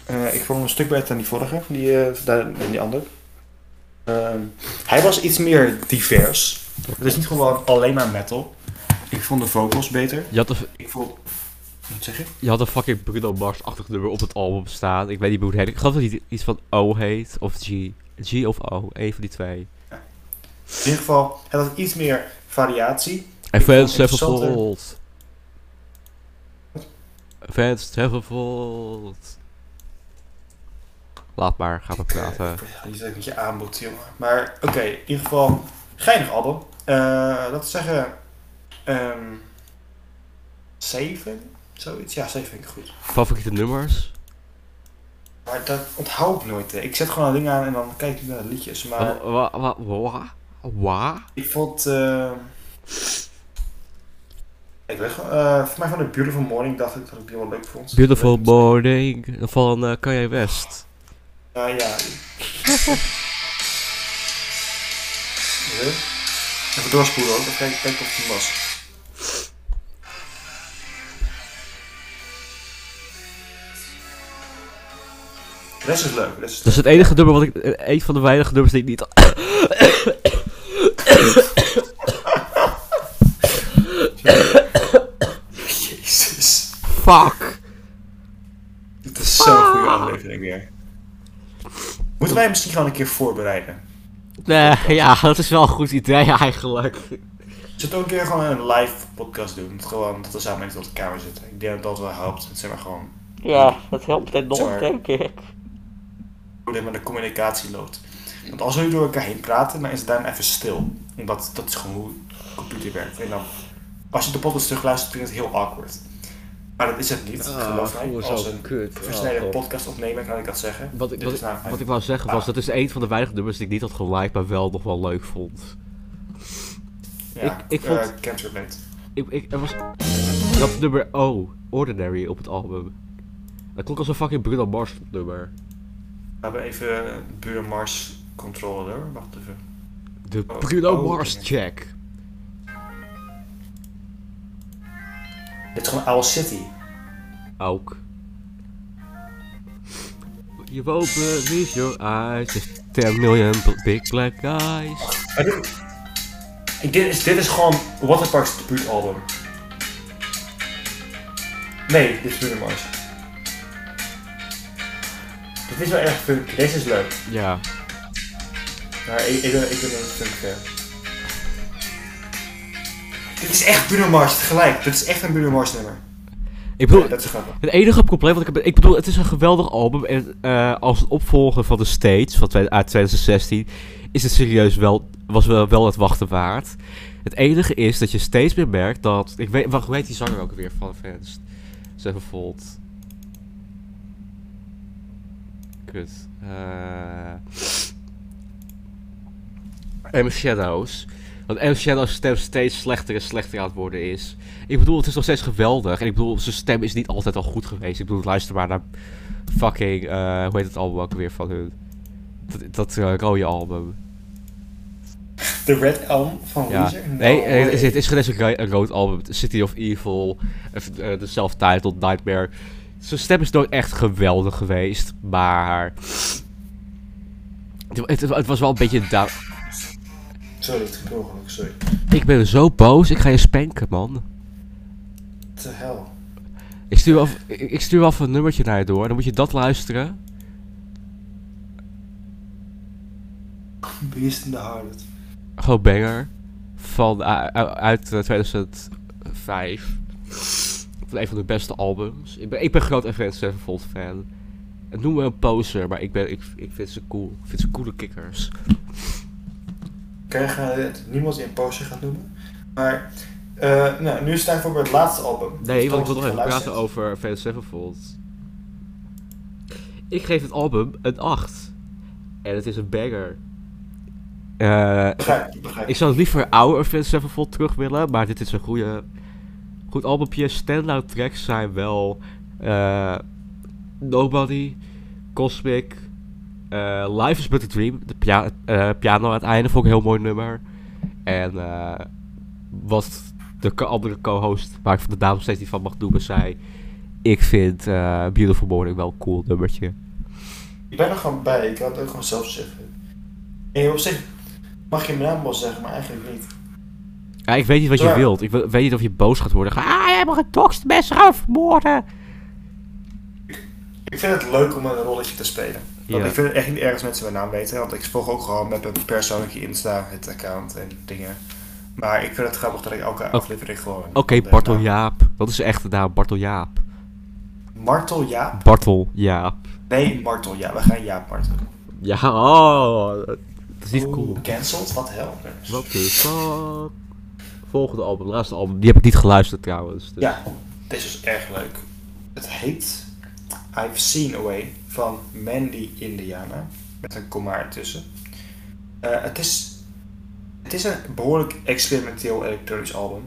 B: Eh, ik vond hem een stuk beter dan die vorige, die, eh, daar, en die andere. Ehm, hij was iets meer divers. Het is niet gewoon alleen maar metal. Ik vond de vocals beter.
A: Je had, een,
B: Ik vond... Wat zeg je?
A: je had een fucking Bruno Mars-achtig nummer op het album staan. Ik weet niet hoe het heet. Ik geloof dat hij iets van O heet of G. G of O, één van die twee.
B: In ieder geval, het had iets meer variatie.
A: En
B: Ik vond
A: Fans
B: het interessanter.
A: Travelvold. Fans Travelvold. Laat maar, ga maar praten.
B: Die zit met je aanbod, jongen. Maar oké, in ieder geval, geinig album. Eh dat zeggen... ehm 7? Zoiets? Ja, 7 vind ik goed.
A: Favoriete nummers?
B: Maar dat onthoud ik nooit. hè. Ik zet gewoon een ding aan en dan kijk ik naar de liedjes. Maar
A: Wa- wa- wa- wa- wa?
B: ik vond. eh, ik weet gewoon. eh, voor mij van de Beautiful Morning dacht ik dat ik die wel leuk vond.
A: Beautiful
B: Eh,
A: Morning van eh Kanye West.
B: Ja, ja. Ja. [laughs] Even doorspoelen ook, dan kijk ik kijken of het hem was. De rest is leuk, de rest is
A: Dat is het enige nummer wat ik. eh, Een van de weinige nummers die ik niet.
B: Jezus.
A: Fuck!
B: Dit is zo'n goede aflevering weer. Moeten wij misschien gewoon een keer voorbereiden?
A: Nee, ja, dat is wel een goed idee eigenlijk.
B: Zullen we ook een keer gewoon een live podcast doen? Gewoon dat we samen in de kamer zitten. Ik denk dat dat wel helpt. Het zeg maar gewoon
A: Ja, dat helpt enorm,
B: Sorry.
A: denk ik.
B: hoe dit met de communicatie loopt. Want als jullie door elkaar heen praten, dan is het daarna even stil. Omdat dat is gewoon hoe de computer werkt. En dan, als je de podcast terugluistert, klinkt het heel awkward. Maar dat is het niet,
A: Ah,
B: geloof mij. Als een
A: Oh,
B: versneden podcast opnemen, kan ik dat zeggen.
A: Wat ik,
B: Dit
A: wat,
B: is
A: ik,
B: nou namelijk-
A: wat ik wou zeggen was, dat is een van de weinige nummers die ik niet had geliked, maar wel nog wel leuk vond.
B: ja,
A: ik- ik
B: eh,
A: vond-
B: can't relate.
A: Ik, ik, er was dat nummer O, Ordinary, op het album. Dat klonk als een fucking Bruno Mars nummer.
B: We hebben even eh, Buren Mars controller. Wacht even.
A: De
B: Oh,
A: Bruno
B: oh,
A: Mars
B: oké.
A: check.
B: Dit is gewoon Owl City.
A: Ook. You won't believe your eyes, just 10 million b- big black eyes.
B: Maar dit- Ik, dit, is, dit is gewoon Waterparks debuutalbum. Nee, dit is Bruno Mars. Dit is wel erg funky. Deze is leuk.
A: Ja,
B: Maar ik, ik, ben, ik ben een funk fan. Dit is echt Bruno Mars tegelijk. Dit is echt een Bruno Mars nummer.
A: ik bedoel,
B: dat is grappig.
A: Het enige probleem wat ik heb. Ik bedoel, het is een geweldig album. En eh, als het opvolger van The States van twee- uit 2016 is het serieus wel, was wel, wel het wachten waard. Het enige is dat je steeds meer merkt dat. Ik weet, wacht, hoe heet die zanger ook weer van Fans? Sevenfold. Kut. Eh M Shadows. Dat M Shadows stem steeds slechter en slechter aan het worden is. Ik bedoel, het is nog steeds geweldig. En ik bedoel, zijn stem is niet altijd al goed geweest. Ik bedoel, luister maar naar fucking, eh, hoe heet het album ook weer van hun? Dat, dat eh, rode album.
B: The Red Elm van
A: Ja.
B: Weezer? Nou,
A: Nee,
B: No
A: eh, het is,
B: way.
A: het is geen eens een ro- een rood album. City of Evil, eh, eh, de self-titled Nightmare. Zijn stem is nooit echt geweldig geweest, maar... Het, het, het was wel een beetje een down...
B: Sorry, het ging per ongeluk, sorry.
A: Ik ben zo boos, ik ga je spanken, man.
B: What the hell?
A: Ik stuur af, ik, ik stuur af een nummertje naar je door, dan moet je dat luisteren.
B: Beast in the Heart.
A: Gewoon banger. Van, eh, eh, uit eh, 2005. Van een van de beste albums. Ik ben, ik ben groot Avenged Sevenfold fan. Het noemen we een poser, maar ik, ben, ik, ik vind ze cool. Ik vind ze coole kikkers.
B: Kan je gaan, niemand die een poster gaat noemen. Maar eh, nou, nu is het tijd voor het laatste album.
A: Nee, want ik wil
B: Vertel
A: nog even
B: eens wat je
A: praten
B: luistert.
A: over Avenged Sevenfold. Ik geef het album een 8. En het is een banger. Eh,
B: Begrijp, ik, begrijp.
A: Ik
B: Ik...
A: zou liever oude Avenged Sevenfold terug willen, maar dit is een goede, goed albumpje. Standout tracks zijn wel eh, Nobody, Cosmic, eh, Life is But a Dream. De pia- eh, piano aan het einde vond ik een heel mooi nummer. En eh, wat de co- andere co-host, waar ik van de naam nog steeds niet van mag noemen, zei... Ik vind eh, Beautiful Morning wel een cool nummertje.
B: Ik ben er gewoon bij, ik had het ook gewoon zelf zeggen. En op zich mag je mijn naam wel zeggen, maar eigenlijk niet.
A: Ja, ik weet niet wat je
B: Ja.
A: wilt. Ik we- weet niet of je boos gaat worden. Ga, ah, jij mag een tokstmesser gaan vermoorden.
B: Ik vind het leuk om een rolletje te spelen. Want
A: Ja.
B: ik vind het echt niet erg als mensen mijn naam weten, want ik volg ook gewoon met een persoonlijke Insta, het account en dingen. Maar ik vind het grappig dat ik elke aflevering gewoon...
A: Oh.
B: Eh, nou,
A: Oké,
B: de
A: Bartel
B: naam-
A: Jaap. Dat is de echte naam, Bartel Jaap.
B: Martel Jaap?
A: Bartel Jaap.
B: Nee, Martel Jaap. We gaan Jaap martelen.
A: Ja, oh, dat is niet cool.
B: Oeh, Cancelled? Wat helder.
A: What the fuck? Volgende album, laatste album. Die heb ik niet geluisterd trouwens. dus-
B: Ja, deze is erg leuk. Het heet I've Seen Away van Mandy Indiana. Met een komma ertussen. Eh, het, is, het is een behoorlijk experimenteel elektronisch album.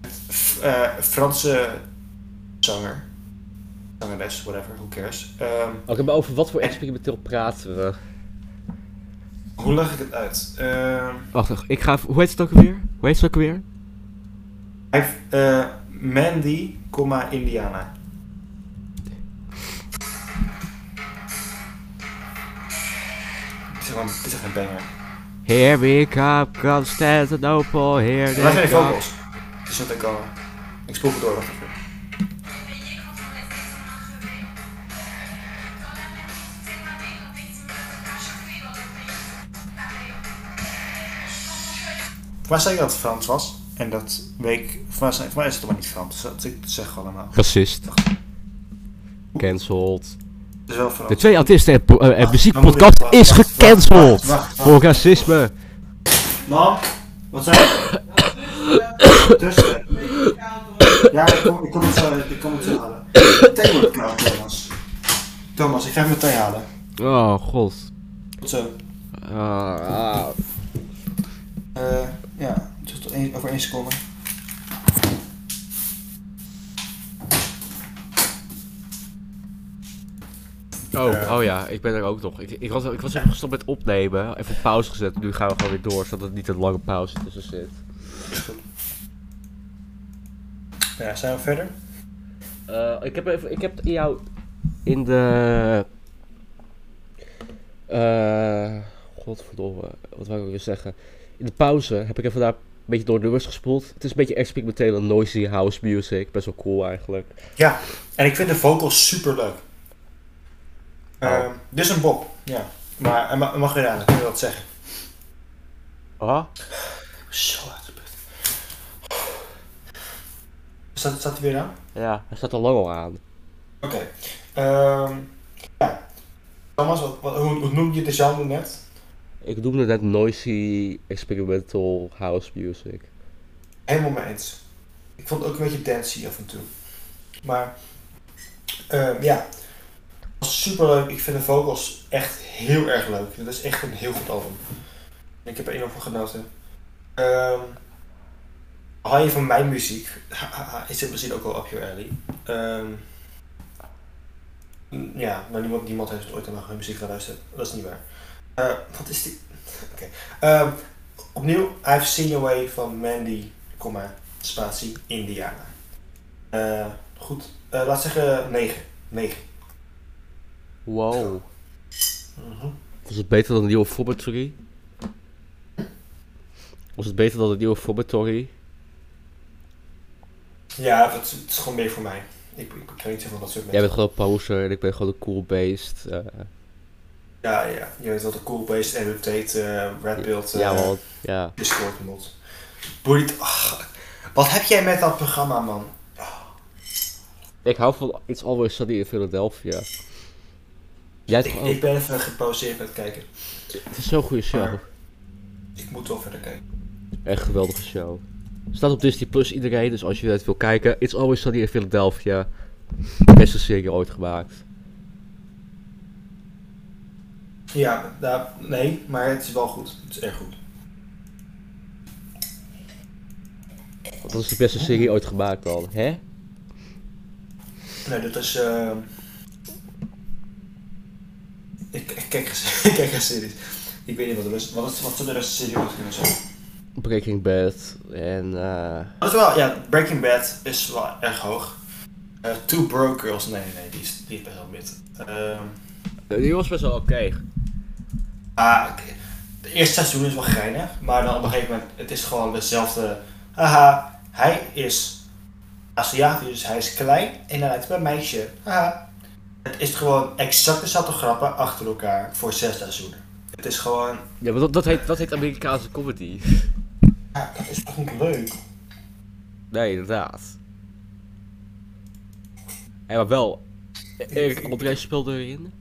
B: Met F- eh, Franse zanger. Zangeres, whatever, who cares. Ehm,
A: Oké, maar over wat voor experimenteel praten we?
B: hoe leg ik het uit? Ehm,
A: Wacht, wacht, ik ga even... Hoe heet het ook alweer? Hoe heet het ook alweer?
B: I've, eh, Mandy, komma Indiana. Het is gewoon- Het is echt een banger.
A: Here we come, Constantinople, here
B: Waar zijn
A: they
B: die
A: come.
B: vocals? Die zat Dus ik al. Ik spoel het door, wacht even. Waar zei ik dat het Frans was? En dat week. Voor mij, voor mij is het maar niet Frans. dus Dat ik zeg gewoon allemaal.
A: Racist. Cancelled.
B: Het is wel Frans.
A: De twee artiesten en, po- eh, en
B: Wacht,
A: muziekpodcast
B: wacht,
A: is
B: wacht, wacht,
A: gecanceld.
B: wacht, wacht, wacht.
A: Voor racisme.
B: Mam, wat zei je? Tussen. Ja, ik kom, ik kom het zo, ik kom het zo halen. Thee wordt koud, Thomas. Thomas, ik ga even mijn thee halen.
A: Oh, god.
B: Tot zo.
A: Ah, ah.
B: Eh, ja, dus tot één, over één seconde.
A: Oh, oh ja, ik ben er ook nog. Ik, ik, was, ik was even gestopt met opnemen. Even op pauze gezet. Nu gaan we gewoon weer door, zodat het niet een lange pauze tussen zit.
B: Ja, zijn we verder?
A: Eh, ik, heb even, ik heb in jou... In de... eh godverdomme, wat wou ik ook weer zeggen? In de pauze heb ik even daar een beetje door nummers gespoeld. Het is een beetje experimentele noisy house music. Best wel cool eigenlijk.
B: Ja, en ik vind de vocals super leuk.
A: Oh.
B: Dit is een bob, ja. Maar hij ma- hij mag weer aan, ik wil dat zeggen.
A: Ah?
B: Zo uit de put. Staat, staat hij weer aan?
A: Ja, hij staat al lang al aan.
B: Oké. Ehm, ja. Thomas, wat, wat- hoe, hoe noem je de genre net?
A: Ik noemde net noisy experimental house music.
B: Helemaal mee eens. Ik vond het ook een beetje dancey af en toe. Maar ehm, ja, het was super leuk. Ik vind de vocals echt heel erg leuk. Dit is echt een heel goed album. Ik heb er enorm van genoten. Ehm hou je van mijn muziek? is dit misschien ook wel up your alley? Ehm, mm, ja, maar niemand, niemand heeft ooit naar mijn muziek geluisterd. Dat is niet waar. Eh, wat is die? Oké. Ehm, opnieuw, I've Seen Away van Mandy, comma, spatie, Indiana. Eh, goed, Eh, laat zeggen 9. 9.
A: Wow. Was het beter dan de nieuwe Formatory? Was het beter dan de nieuwe Formatory?
B: Ja, het, het is gewoon meer voor mij. Ik, ik kan niet zeggen van dat
A: Jij
B: soort mensen.
A: bent gewoon een poser en ik ben gewoon een cool beest. eh.
B: Ja, ja. Je weet wel, de Cool Beast, Andrew Tate, eh, Red Pill, eh,
A: ja man, ja.
B: Discord mod. Boeit. Ach, wat heb jij met dat programma, man?
A: Ik hou van It's Always Sunny in Philadelphia. Jij
B: Ik,
A: toch ook?
B: ik ben even gepauzeerd met kijken.
A: Het is zo'n goede show.
B: Maar- Ik moet wel verder kijken.
A: Echt een geweldige show. Staat op Disney Plus iedereen, dus als je het wil kijken, It's Always Sunny in Philadelphia. Beste serie ooit gemaakt.
B: Ja, daar- nee, maar het is wel goed. Het is erg goed.
A: Dat is de beste serie ooit gemaakt dan, hè?
B: Nou, dat is. eh, [laughs] Ik, ik kijk geen- ik kijk geen series. Ik weet niet wat de rest, wat, is- wat zou de rest serie moeten kunnen zijn.
A: Breaking Bad en... eh,
B: Dat is wel, ja, Breaking Bad is wel erg hoog. Eh, Two Broke Girls, nee, nee, die is, die is best wel mid. Ehm,
A: die was best wel oké.
B: ah, oké. Het eerste seizoen is wel geinig, maar dan op een gegeven moment, het is gewoon dezelfde. Haha, hij is Aziatisch, dus hij is klein en hij lijkt op een meisje. Haha. Het is gewoon exact dezelfde grappen achter elkaar voor zes seizoenen. Het is gewoon,
A: Ja, maar dat, dat, heet, dat heet Amerikaanse comedy.
B: ja, dat is toch niet leuk?
A: Nee, inderdaad. En maar wel, Erik André speelde erin.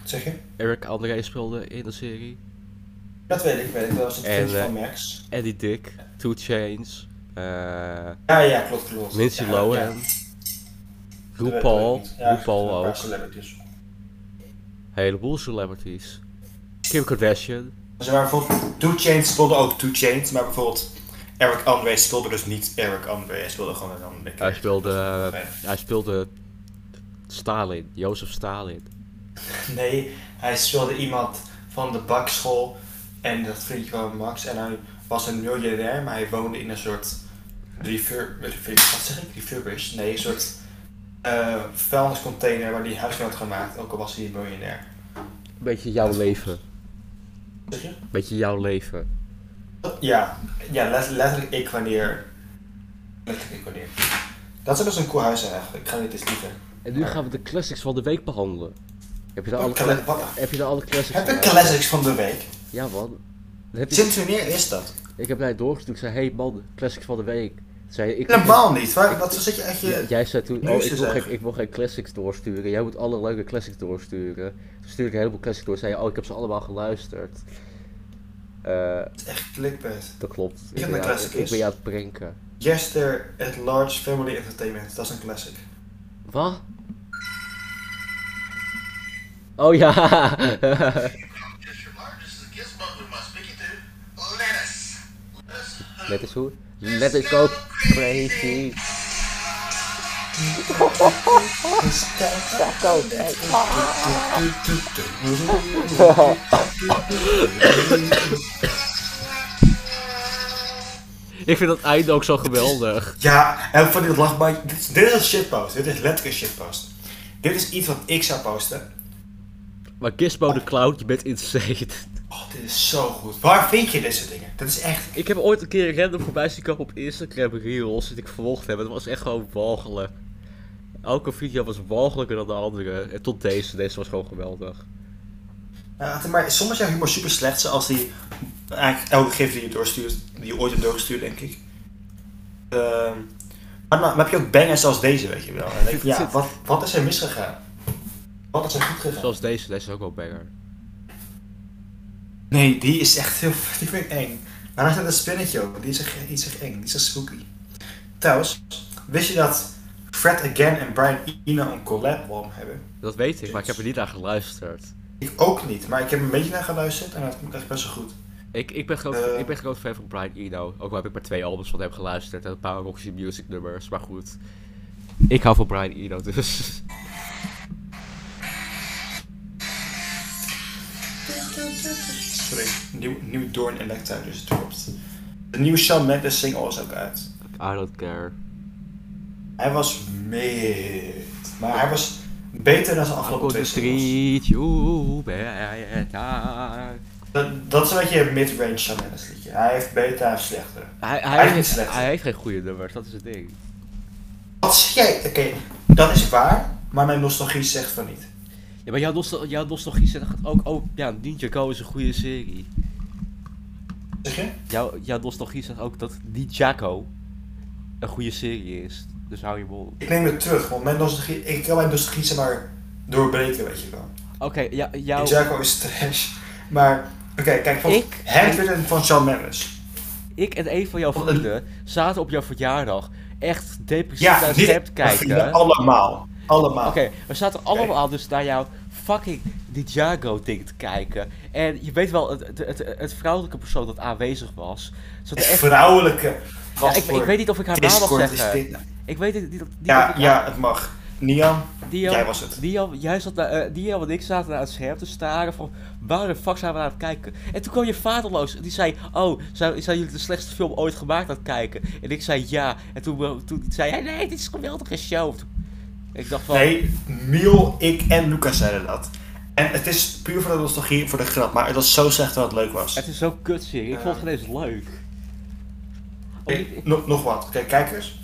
B: Wat zeg je?
A: Eric André speelde in de serie.
B: Dat weet ik, weet ik. Dat was het
A: En,
B: vriendje
A: eh,
B: van Max.
A: Eddie Dick, Two Chains, eh
B: Ja, ja, klopt, klopt.
A: Lindsay
B: Ja, ja.
A: Lohan, RuPaul,
B: Ja,
A: RuPaul
B: een
A: ook,
B: paar celebrities.
A: een heleboel celebrities. Kim Kardashian,
B: Zeg maar bijvoorbeeld, Two Chainz speelde ook Two Chainz, maar bijvoorbeeld Eric Andre speelde dus niet Eric Andre, hij speelde gewoon een andere
A: hij
B: character.
A: speelde, eh,
B: Nee.
A: hij speelde Stalin, Jozef Stalin.
B: Nee, hij speelde iemand van de bakschool en dat vriendje van Max en hij was een miljardair, maar hij woonde in een soort refurb, refurb- wat zeg ik, refurbish? Nee, een soort eh, vuilniscontainer waar hij huis mee had gemaakt, ook al was hij een miljardair.
A: Beetje jouw leven.
B: Zeg je?
A: Beetje jouw leven.
B: Ja, ja let- letterlijk ik wanneer. Letterlijk ik wanneer. Dat zou best een cool huis zijn eigenlijk. Ik ga dit eens liever.
A: En nu gaan we de classics van de week behandelen. Heb je daar alle,
B: Wat
A: cla-
B: cla- wat-
A: heb je daar alle classics
B: Heb
A: van?
B: ik classics van de week?
A: Ja man. Dat Heb ik,
B: Sinds wanneer is dat?
A: ik heb naar je doorgestuurd. Ik zei, hey man, classics van de week. Zei, je, ik,
B: Helemaal niet. Waar, wat zit je echt je.
A: Jij zei toen,
B: Nu
A: oh,
B: is
A: ik
B: het
A: wil,
B: echt.
A: geen, ik wil geen classics doorsturen. Jij moet alle leuke classics doorsturen. Toen stuurde ik een heleboel classics door. Zei je, oh, ik heb ze allemaal geluisterd. Eh,
B: Het is echt clickbait.
A: dat klopt.
B: heb
A: ben
B: een
A: jou-
B: classic
A: ik, ik ben
B: is.
A: je aan het pranken.
B: Jester at Large Family Entertainment. Dat is een classic.
A: Wat? Oh ja! [laughs] Let is hoe? Let it go crazy. [laughs] Ik vind dat einde ook zo geweldig.
B: Ja, en van die lachbandje. Dit, is- dit is een shitpost. Dit is letterlijk een shitpost. Dit is iets wat ik zou posten.
A: Maar Gizmo de Clown, je bent insane.
B: Oh, dit is zo goed. Waar vind je dit soort dingen? Dat is echt.
A: Ik heb ooit een keer random voorbij zien komen op Instagram Reels dat ik vervolgd heb. Het was echt gewoon walgelijk. Elke video was walgelijker dan de andere. En tot deze. Deze was gewoon geweldig.
B: Ja, maar soms is jouw humor super slecht, zoals die eigenlijk elke gif die je doorstuurt, die je ooit hebt doorgestuurd, denk ik. Ehm, maar dan heb je ook bangers zoals deze, weet je wel. En dan denk je, ja, [laughs] wat, wat is er misgegaan? Wat is er goed gegaan?
A: Zoals deze. Deze is ook wel banger.
B: Nee, die is echt heel, [laughs] die vind ik eng. Maar daar zit een spinnetje op, die is echt, die is echt eng, die is echt spooky. Trouwens, wist je dat Fred Again en Brian Eno een collab album hebben?
A: Dat weet ik, maar ik heb er niet naar geluisterd.
B: Ik ook niet, maar ik heb een beetje naar geluisterd en dat vond ik echt best wel goed.
A: Ik, ik, ben groot,
B: Eh.
A: ik ben groot fan van Brian Eno. Ook al heb ik maar twee albums van hem geluisterd. En een paar Roxy Music nummers. Maar goed. Ik hou van Brian Eno dus. [laughs]
B: Sorry, nieuw, nieuw Doorn Electra dus dropt. De nieuwe Shawn Mendes single is ook uit.
A: I don't care.
B: Hij was mid, maar hij was beter dan zijn
A: I'm
B: afgelopen
A: going
B: twee
A: to
B: singles.
A: treat you better.
B: Dat, dat is een beetje een mid-range Shawn Mendes liedje. Hij heeft beter, hij heeft slechter.
A: Hij,
B: Hij
A: hij,
B: is niet
A: heeft,
B: slecht.
A: hij heeft geen goede nummers, dat is het ding.
B: Wat zeg jij? Oké, dat is waar, maar mijn nostalgie zegt van niet.
A: Ja, maar jouw, nostal jouw nostalgie zit gaat ook... Oh, ja, Ninja Go is een goede serie.
B: Zeg je?
A: Jouw, jouw nostalgie zegt ook dat Ninja Go een goede serie is. Dus hou je mond.
B: Ik neem het terug, want mijn nostalgie, ik kan mijn nostalgie zeg maar doorbreken, weet je wel.
A: Oké, ja, jouw...
B: Die Jacko is trash, maar oké, kijk, van
A: Nou. Ik-
B: Handwritten van Shawn Mendes.
A: Ik en een van jouw vrienden zaten op jouw verjaardag echt depressief
B: Ja,
A: naar
B: dit
A: Snap kijken. Oké,
B: nou allemaal. Allemaal.
A: we zaten allemaal dus naar jouw fucking Ninjago ding te kijken. En je weet wel, het, het, het, het vrouwelijke persoon dat aanwezig was... Zat
B: Het
A: echt...
B: vrouwelijke.
A: Ja, ik, ik weet niet of ik haar naam mag
B: Discord is
A: zeggen.
B: dit nou?
A: Ik weet het niet, niet of
B: Ja,
A: ik haar-
B: ja, het mag. Nian,
A: Dion,
B: jij was het.
A: Dion, jij zat naar, eh, Dion en ik zaten naar het scherm te staren van waar de fuck zijn we aan het kijken? En toen kwam je vader langs en die zei, oh, zijn, zijn jullie de slechtste film ooit gemaakt aan het kijken? En ik zei ja. En toen, eh, toen zei hij, nee, dit is een geweldige show. Ik dacht van,
B: Nee, Miel, ik en Lucas zeiden dat. En het is puur voor de nostalgie, voor de grap, maar het was zo slecht dat het leuk was.
A: het is zo'n kutserie. Ik vond het geen eens leuk. Oh,
B: Oké,
A: ik-
B: nog, nog wat. Oké, kijkers.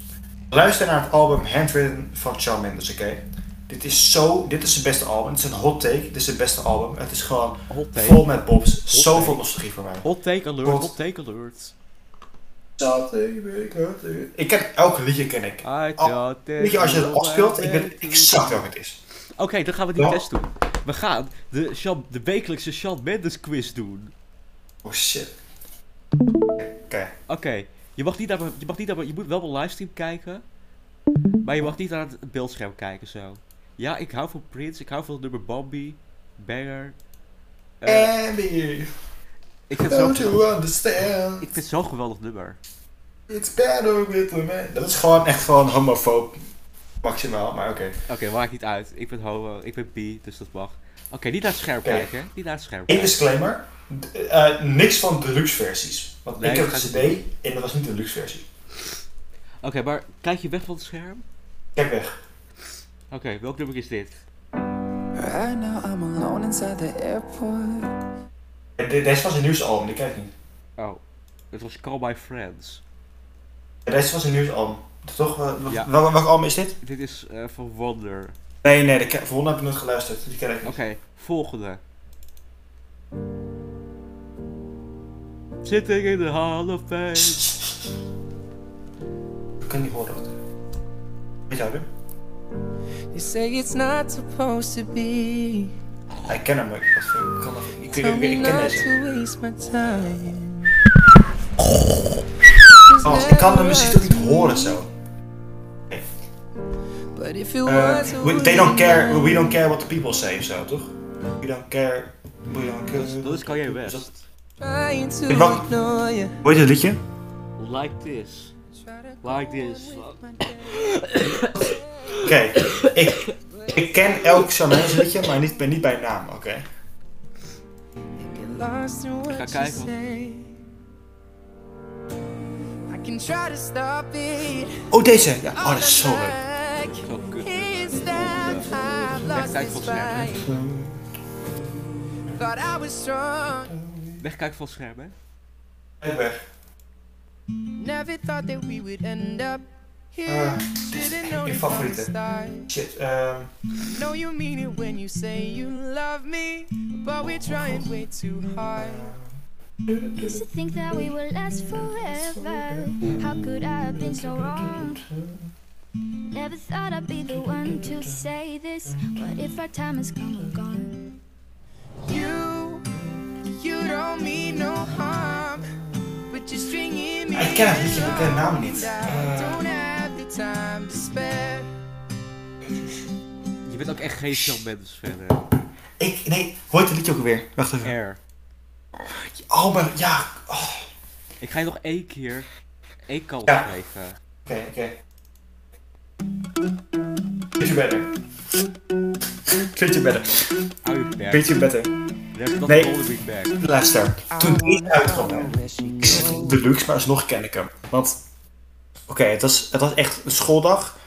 B: Luister naar het album Handwritten van Shawn Mendes, oké? Dit is zo... Dit is zijn beste album. Het is een hot take. Dit is zijn beste album. Het is gewoon
A: Hot take.
B: vol met bobs. Zoveel
A: take.
B: nostalgie voor mij.
A: Hot take alert,
B: Hot.
A: hot take alert.
B: Ik ken... Elke liedje ken ik.
A: I
B: Al-
A: thought that
B: Weet je, Oh, als je
A: you
B: het afspeelt,
A: were
B: ik
A: meant
B: weet
A: to
B: exact welke het is.
A: Oké, dan gaan we die
B: Ja.
A: test doen. We gaan de, Shawn- de wekelijkse Shawn Mendes quiz doen.
B: Oh shit. Oké.
A: Oké, je mag niet naar, mijn- je mag niet naar, mijn- je moet wel op een livestream kijken, maar je mag niet naar het beeldscherm kijken zo. Ja, ik hou van Prince, ik hou van het nummer Bambi, Banger. Eh,
B: Andy,
A: ik vind het zo'n
B: don't
A: geweldig,
B: you understand?
A: ik vind het zo'n geweldig nummer.
B: It's better with a man. Dat is gewoon echt gewoon homofoob. Maximaal, maar oké.
A: Oké, maakt niet uit. Ik ben homo, ik ben bi, dus dat mag. Oké, niet naar het scherm
B: Oké.
A: kijken, hè? niet naar het scherm
B: Eén
A: kijken.
B: disclaimer. d- eh, niks van deluxe versies. Want
A: Nee,
B: ik
A: dat
B: heb een
A: gaat
B: cd
A: niet.
B: en dat was niet de deluxe versie.
A: Oké, maar kijk je weg van het scherm?
B: Kijk weg.
A: Oké, welk nummer is dit?
D: Right now I'm alone inside the airport.
B: En de- Deze was een nieuwsalbum, die kijk ik niet.
A: Oh, het was Call My Friends.
B: En Deze was een nieuwsalbum. Toch? eh, wel-
A: Ja.
B: wel- Welk album is dit?
A: Dit is eh, van Wonder.
B: Nee, nee, de ke- volgende heb ik nooit geluisterd. Die ken ik
A: Oké,
B: niet.
A: volgende. Sitting in the Hall of Fame.
B: Ik kan niet horen. wat- Weet jij hem?
D: You say it's not supposed to be.
B: Ik ken hem, maar ik, ik kan dat- ik, ik,
D: Tell
B: ik,
D: me
B: ik ken
D: not
B: deze.
D: to waste my time.
B: Oh, ik kan de muziek toch niet horen zo.
D: But if you
B: Eh,
D: want to
B: we, they don't care, we don't care what the people say of zo, toch? We don't care, we don't care.
A: Dat is Kanye
B: Is dat-
A: West.
D: Trying to
B: Ik mag-
D: ignore you.
B: Hoe heet het liedje?
A: Like this.
D: Try to go
A: Like this.
D: with my day.
B: Oké, ik, ik ken elk Shanai's liedje, maar niet, ben niet bij naam, oké?
D: Get lost in
A: ga
D: what you
A: kijken.
D: say. I can try to stop it.
B: Oh, deze! Ja, oh, dat is zo leuk.
A: Zo kut.
D: Is that
A: Echt
D: I've lost
A: tijd
D: this
A: voor schermen.
D: fight? Thought I was strong.
A: Wegkijken van het scherm, hè?
B: Kijk weg.
D: Never thought that we would end up here.
B: Eh,
D: Didn't know
B: je
D: it from the
B: favoriete.
D: start.
B: Shit, ehm...
D: Know you mean it when you say you love me, but we're trying way too hard.
E: Used to think that we would last forever. How could I have been so wrong? Never thought I'd be the one to say this. But if our time has come and gone,
D: You, you don't mean no harm, but you're stringing me.
B: Ik ken het liedje, maar ik ken de naam niet.
D: I
B: Eh,
D: don't have the time to spare.
A: Je bent ook echt geen Shawn Mendes fan, hè?
B: ik, nee, hoe heet het liedje ook alweer? Wacht even.
A: Air.
B: Oh, maar, ja, oh.
A: Ik ga je nog één keer één kans
B: Ja.
A: geven.
B: Oké, oké. Vind je better. Vind je better.
A: Hou je bek.
B: Vind je better.
A: There's not
B: Nee.
A: a holding back.
B: Luister, toen deze uitkwam, hè,
D: Where she
B: Ik zeg deluxe, maar alsnog ken ik hem. Want, oké, het, was, het was echt een schooldag.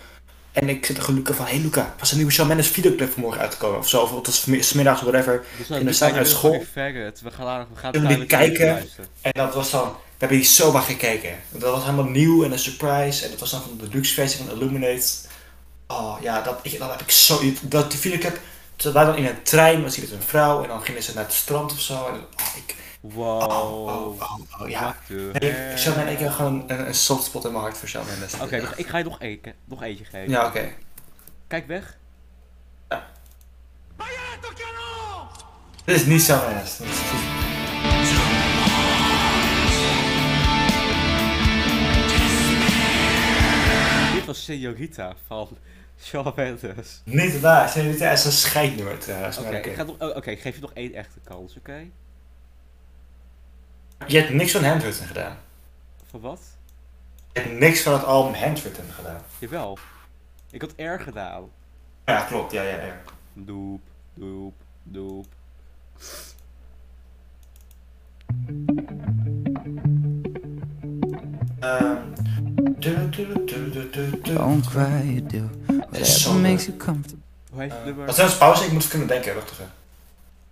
B: En ik zit tegen Luca van, hey Luca, was een nieuwe Shawn Mendes videoclip vanmorgen uitgekomen? Of zo, of het was smi- smiddags, whatever.
A: Dus
B: en dan staan we uit school.
A: Ferret. We gaan, daar- we gaan
B: Toen
A: dadelijk
B: die kijken.
A: luisteren.
B: En dat was dan, daar heb ik zo maar gekeken. Want Dat was helemaal nieuw en een surprise. En dat was dan van de deluxe versie van Illuminate. Oh ja, dat, ik, dat heb ik zo... Dat, die videoclip, ze waren dan in een trein, was hier met een vrouw. En dan gingen ze naar het strand of zo. En, oh, ik,
A: Wow.
B: oh, oh, oh, ja.
A: What the
B: Nee,
A: heck?
B: Shawn Mendes, ik heb gewoon een, een soft spot in mijn hart voor Shawn Mendes.
A: Eh. Oké, nog- ik ga je nog, één, nog eentje geven.
B: Ja, oké.
A: Kijk weg.
B: Dit is niet Shawn Mendes.
A: Dit was Senorita van Shawn Mendes.
B: Niet waar, Senorita is een scheidnummer trouwens.
A: Oké,
B: maar
A: ik
B: oké.
A: ga nog- oh, oké, ik geef je nog één echte kans, oké?
B: Je hebt niks van Handwritten gedaan.
A: Van wat?
B: Je hebt niks van het album Handwritten gedaan.
A: Jawel. Ik had R gedaan.
B: Ja, klopt. Ja, ja, ja.
A: Doep, doep, doep.
B: Ehm, du- du- du- du- du- du- du.
D: Don't cry, you do. Whatever
B: zonde.
D: Oh, makes you comfortable.
A: Hoe heet het
B: Eh,
A: nummer?
B: Wat is pauze? Ik moet het kunnen denken, rustig. Ehm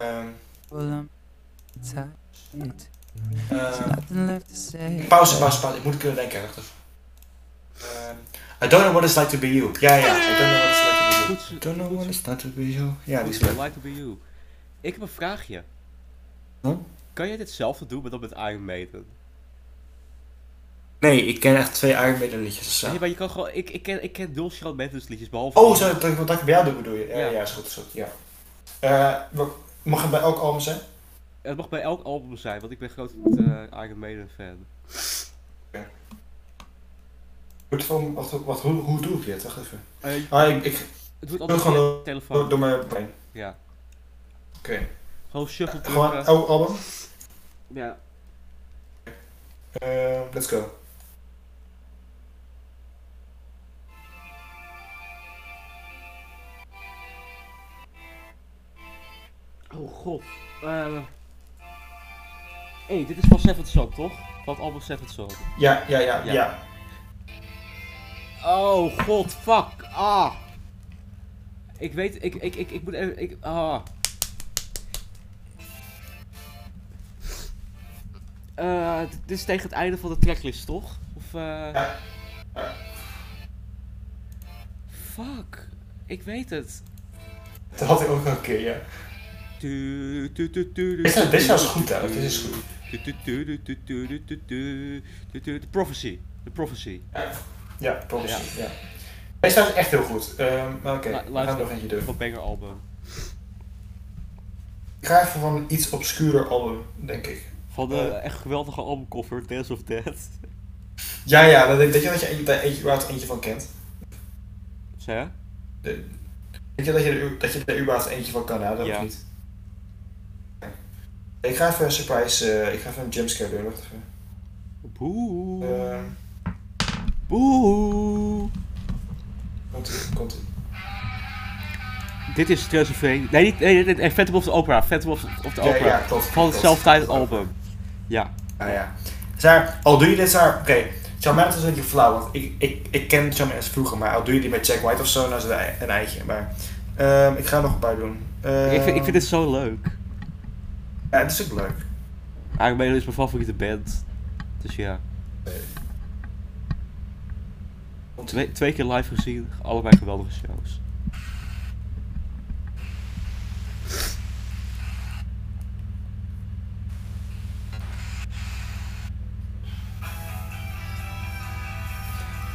D: I'm tired.
B: ehm,
D: Nothing left to say.
B: pauze, pauze, pauze. Ik moet het kunnen denken, rustig. Ehm, I don't know what it's like to be you. Ja, ja, I don't know what it's like to be you.
A: Goed, zo-
B: I don't know what it's like to be you. Ja,
A: goed
B: die is
A: zo,
B: leuk.
A: like to be you. Ik heb een vraagje.
B: Huh?
A: Kan jij ditzelfde doen, maar dan met Iron Maiden?
B: Nee, ik ken echt twee Iron Maiden liedjes.
A: Nee,
B: eh.
A: maar je kan gewoon... Ik, ik ken, ik ken Dulce Charlotte Maidens liedjes, behalve...
B: Oh, zo, dat ik contact bij jou doe bedoel je? Ja,
A: Ja.
B: ja, is goed, is goed, ja. Eh, wa- mag het bij elk album zijn?
A: Het mag bij elk album zijn, want ik ben groot eh, Iron Maiden fan.
B: Goed, van, wat, wat, hoe, hoe doe ik dit? Wacht even.
A: Eh, je-
B: Ah, ik, ik
A: het wordt
B: doe
A: altijd
B: gewoon
A: via
B: door- door,
A: telefoon.
B: door mijn brein.
A: Ja.
B: Oké.
A: Gewoon shuffle
B: Gewoon
A: drukken.
B: elk album?
A: Ja.
B: Eh, let's go.
A: Oh god. Eh Hé, dit is van Seventh Son, toch? Van het album Seventh Son.
B: Ja, ja, ja,
A: Ja.
B: ja.
A: Oh god, fuck. Ah. Ik weet, ik, ik, ik, ik moet even, ik, ah. Eh, d- dit is tegen het einde van de tracklist, toch? Of, eh...
B: Ja.
A: Fuck. Ik weet het.
B: Dat had ik ook een keer, ja.
A: Tu, tu, tu, tu,
B: Dit is- dit is zelfs goed, hè. Dit is dus goed.
A: Tu, tu, tu, tu, tu, tu, tu, tu, tu, tu, tu, The Prophecy. The Prophecy.
B: Ja, prophecy, ja. Deze staat echt heel goed. Ehm, maar oké,
A: La-
B: we gaan
A: luister.
B: er nog eentje doen.
A: Van Banger album.
B: Ik ga even van een iets obscuurder album, denk ik.
A: Van de
B: Eh.
A: echt geweldige albumcover, Dance of Death.
B: Ja, ja, dat, weet je dat je eentje, daar eentje, überhaupt eentje van kent?
A: Zeg? je?
B: De- Weet je dat je, er, dat je er überhaupt eentje van kan houden,
A: Ja.
B: of niet? Ik ga even een surprise, eh, ik ga even een jumpscare doen, wacht even.
A: Boe.
B: Ehm,
A: Boe.
B: komt ie, komt ie.
A: Dit is Transylvania. Nee, niet, nee, nee, nee, Phantom of the Opera. Phantom of, of the
B: Ja,
A: Opera.
B: ja, klopt,
A: Van
B: klopt.
A: hetzelfde tijd album. Ja.
B: Ah ja. Saar, al doe je dit, Saar, oké. Charmander is een beetje flauw, want ik, ik, ik ken Charmander vroeger, maar al doe je die met Jack White of zo, nou is het een- een eitje. Maar ehm, ik ga er nog een paar doen. Ehm,
A: ik, vind, ik vind dit zo leuk.
B: Ja, het is ook leuk.
A: Iron Maiden is mijn favoriete band. Dus ja. Twee, twee keer live gezien. Allebei geweldige shows.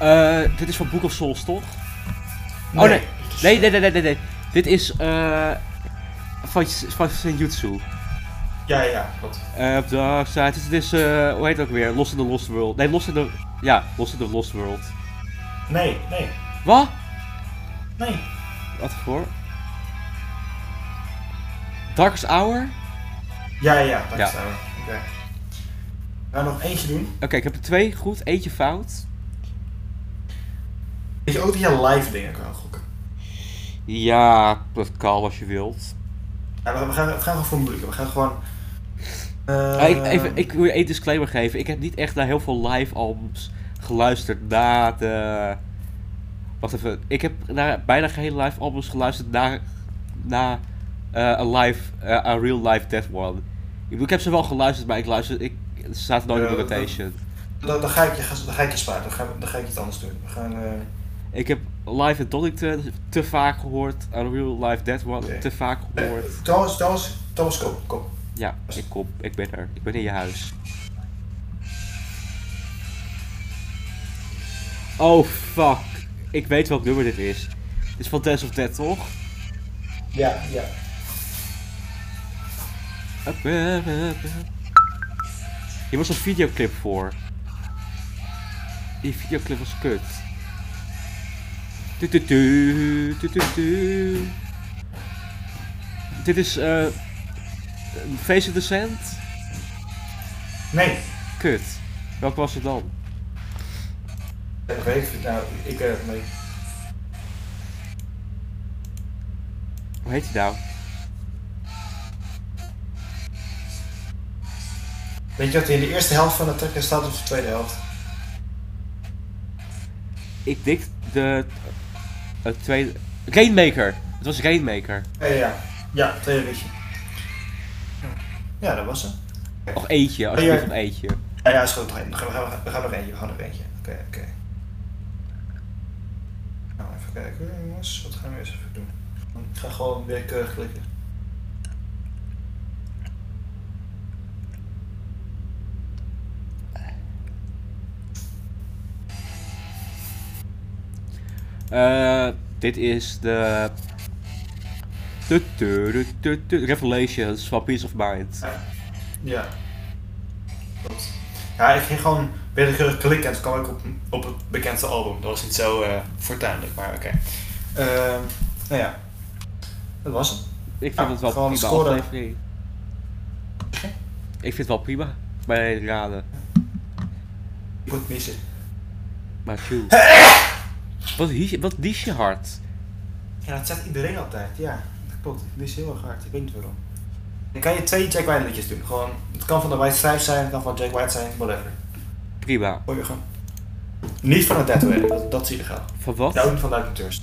A: Eh, dit is van Book of Souls, toch? Oh nee. Nee, nee, nee, nee, nee. nee. Dit is eh van, van Senjutsu.
B: Ja, ja, klopt.
A: Eh, Op de dark side. Dit is, eh, hoe heet het ook weer? Lost in the Lost World. Nee, Lost in the... Ja, Lost in the Lost World.
B: Nee, nee,
A: Wat?
B: nee.
A: Wat voor? Darkest Hour?
B: Ja, ja, daar
A: Ja.
B: staan we. Oké. We gaan nog eentje doen.
A: Oké, ik heb er twee goed, eentje fout.
B: Weet je ook dat je live dingen kan gokken?
A: Ja, dat kan als je wilt.
B: Ja, we, we gaan, we gaan gewoon voor een moeilijke. We gaan gewoon... eh,
A: Ah, ik, even, ik wil je één disclaimer geven. Ik heb niet echt naar heel veel live albums geluisterd na de... Wacht even. Ik heb naar bijna geen live albums geluisterd na, na eh, een live, eh, een real life Death One. Ik, bedoel, ik heb ze wel geluisterd, maar ik luister... Ik, ze zaten nooit in
B: Ja,
A: de
B: dat- dat-
A: rotation.
B: Dan, dan, ga ik je, dan ga ik je sparen. Dan ga, dan ga ik iets anders doen. We gaan... eh,
A: Ik heb Live at Donington te vaak gehoord. Een real life Death One
B: Oké.
A: te vaak gehoord.
B: eh, Thomas, Thomas, Thomas, kom, kom.
A: Ja, ik kom. Ik ben er. Ik ben in je huis. Oh, fuck. Ik weet welk nummer dit is. Dit is van Dance of Death, toch?
B: Ja, ja.
A: Hier was een videoclip voor. Die videoclip was kut. Tu, tu, tu, tu, tu, tu. Dit is eh Face of the Sand?
B: Nee.
A: Kut. Welk was het dan?
B: Ik weet het, nou, ik, eh, nee.
A: Hoe heet hij nou?
B: Weet je dat hij in de eerste helft van de trekker staat of de tweede helft?
A: Ik denk de... Het tweede... Rainmaker! Het was Rainmaker.
B: Ja, ja. Ja, tweede liedje. Ja, dat was hem.
A: Of eentje,
B: Oh,
A: alsjeblieft een eentje.
B: Ja, ja, is goed. We gaan, we gaan- we gaan nog eentje, we gaan nog eentje. Oké, oké. Nou, even kijken jongens. Wat gaan we eens even doen? Ik ga gewoon weer keurig klikken.
A: Eh, dit is de... de, de, de, de, de Revelations van Peace of Mind.
B: Ja. Klopt. Ja, ik ging gewoon willekeurig klikken en toen kwam ik op, op het bekendste album. Dat was niet zo eh fortuinlijk, maar oké. Ehm, nou ja. Dat was hem.
A: Ik vind
B: Ja,
A: het wel
B: gewoon
A: prima
B: scoren.
A: aflevering. Ik vind het wel prima. Bij raden.
B: Ik moet missen.
A: Maar shoot. Wat, hies je- wat dies je hard?
B: Ja, dat zegt iedereen altijd. Ja, dat klopt. Ik mis heel erg hard. Ik weet niet waarom. Dan kan je twee Jack White liedjes doen. Gewoon, het kan van de White Stripes zijn, het kan van Jack White zijn, whatever.
A: Prima.
B: Hoor je gewoon. Niet van het Deadway, dat, dat is illegaal.
A: Van wat?
B: Ja, ook niet van Lightning Thirst.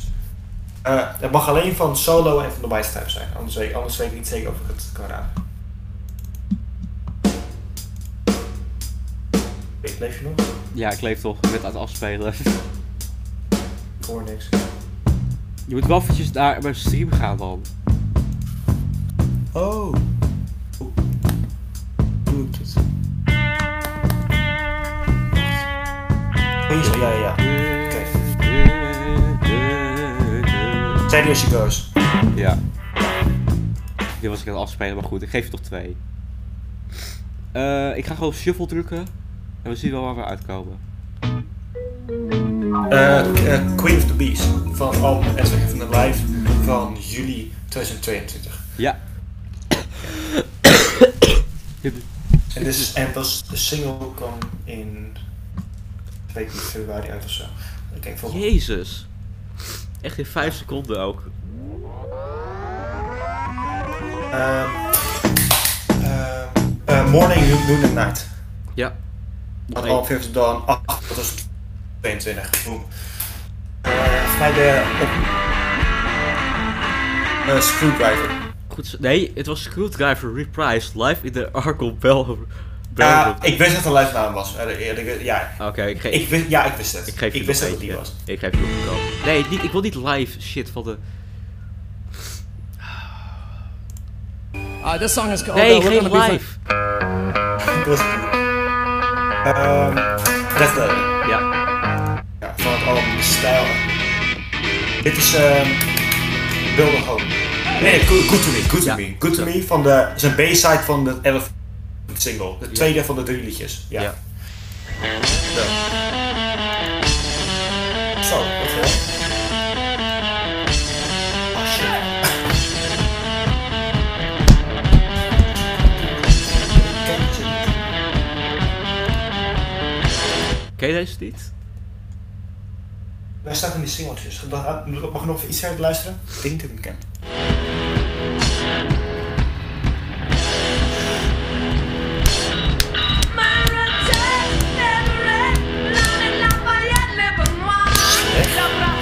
B: Eh, het mag alleen van Solo en van de White Stripes zijn. Anders weet, anders weet ik niet zeker of ik het kan raden. Ik leef je nog?
A: Ja, ik leef toch. Ik ben het aan het afspelen. [laughs]
B: Ik hoor niks.
A: Je moet wel eventjes naar mijn stream gaan dan.
B: Oh. Doe ik dit? Ja, ja, ja. Oké. Steady as she goes.
A: Ja. Dit was ik aan het afspelen, maar goed. Ik geef je toch twee. Eh, ik ga gewoon op shuffle drukken. En we zien wel waar we uitkomen.
B: Eh, k- eh, Queen of the Beast van het album As I Have the Life van juli 2022.
A: Ja. Dit-
B: En dit is en pas de single kwam in ik weet niet februari uit of zo. Oké, volgende.
A: Jezus. Echt in vijf seconden ook.
B: Ehm, ehm, eh, morning, Noon- Noon and Night.
A: Ja.
B: Van All Fifth Dawn 8 2022. Boom. Eh, Volgens mij de op... eh, Screwdriver.
A: Goed, zo- nee, het was Screwdriver Reprised live in de Arco Bell.
B: Ja,
A: Bell-
B: ik wist dat het een live naam was. Eh, eerlijk- Ja,
A: Oké, ik, ge-
B: ik wist, ja, ik wist het.
A: ik geef je
B: wist dat
A: nog
B: het die
A: eentje.
B: was. Oh,
A: Ik geef je nog een koop. Nee, niet, ik wil niet live shit van de...
D: Uh, this song is called.
A: Nee,
D: uh, we're
A: geen
D: gonna be
A: live!
B: Dat was het. Ehm, Death Letter.
A: Ja,
B: Ja, van het album Stijl. Dit is ehm Build a Home. Nee, Good Good To Me. Good To
A: Ja.
B: Me. Good To Me van de, is een B-side van de 11 single. De tweede van de drie liedjes. Ja.
A: Ja.
B: Zo. Zo, dat wel. Ah, shit.
A: ken je deze niet?
B: Wij staan in die singeltjes. Mag ik nog even iets verder luisteren? Ik denk dat ik hem ken.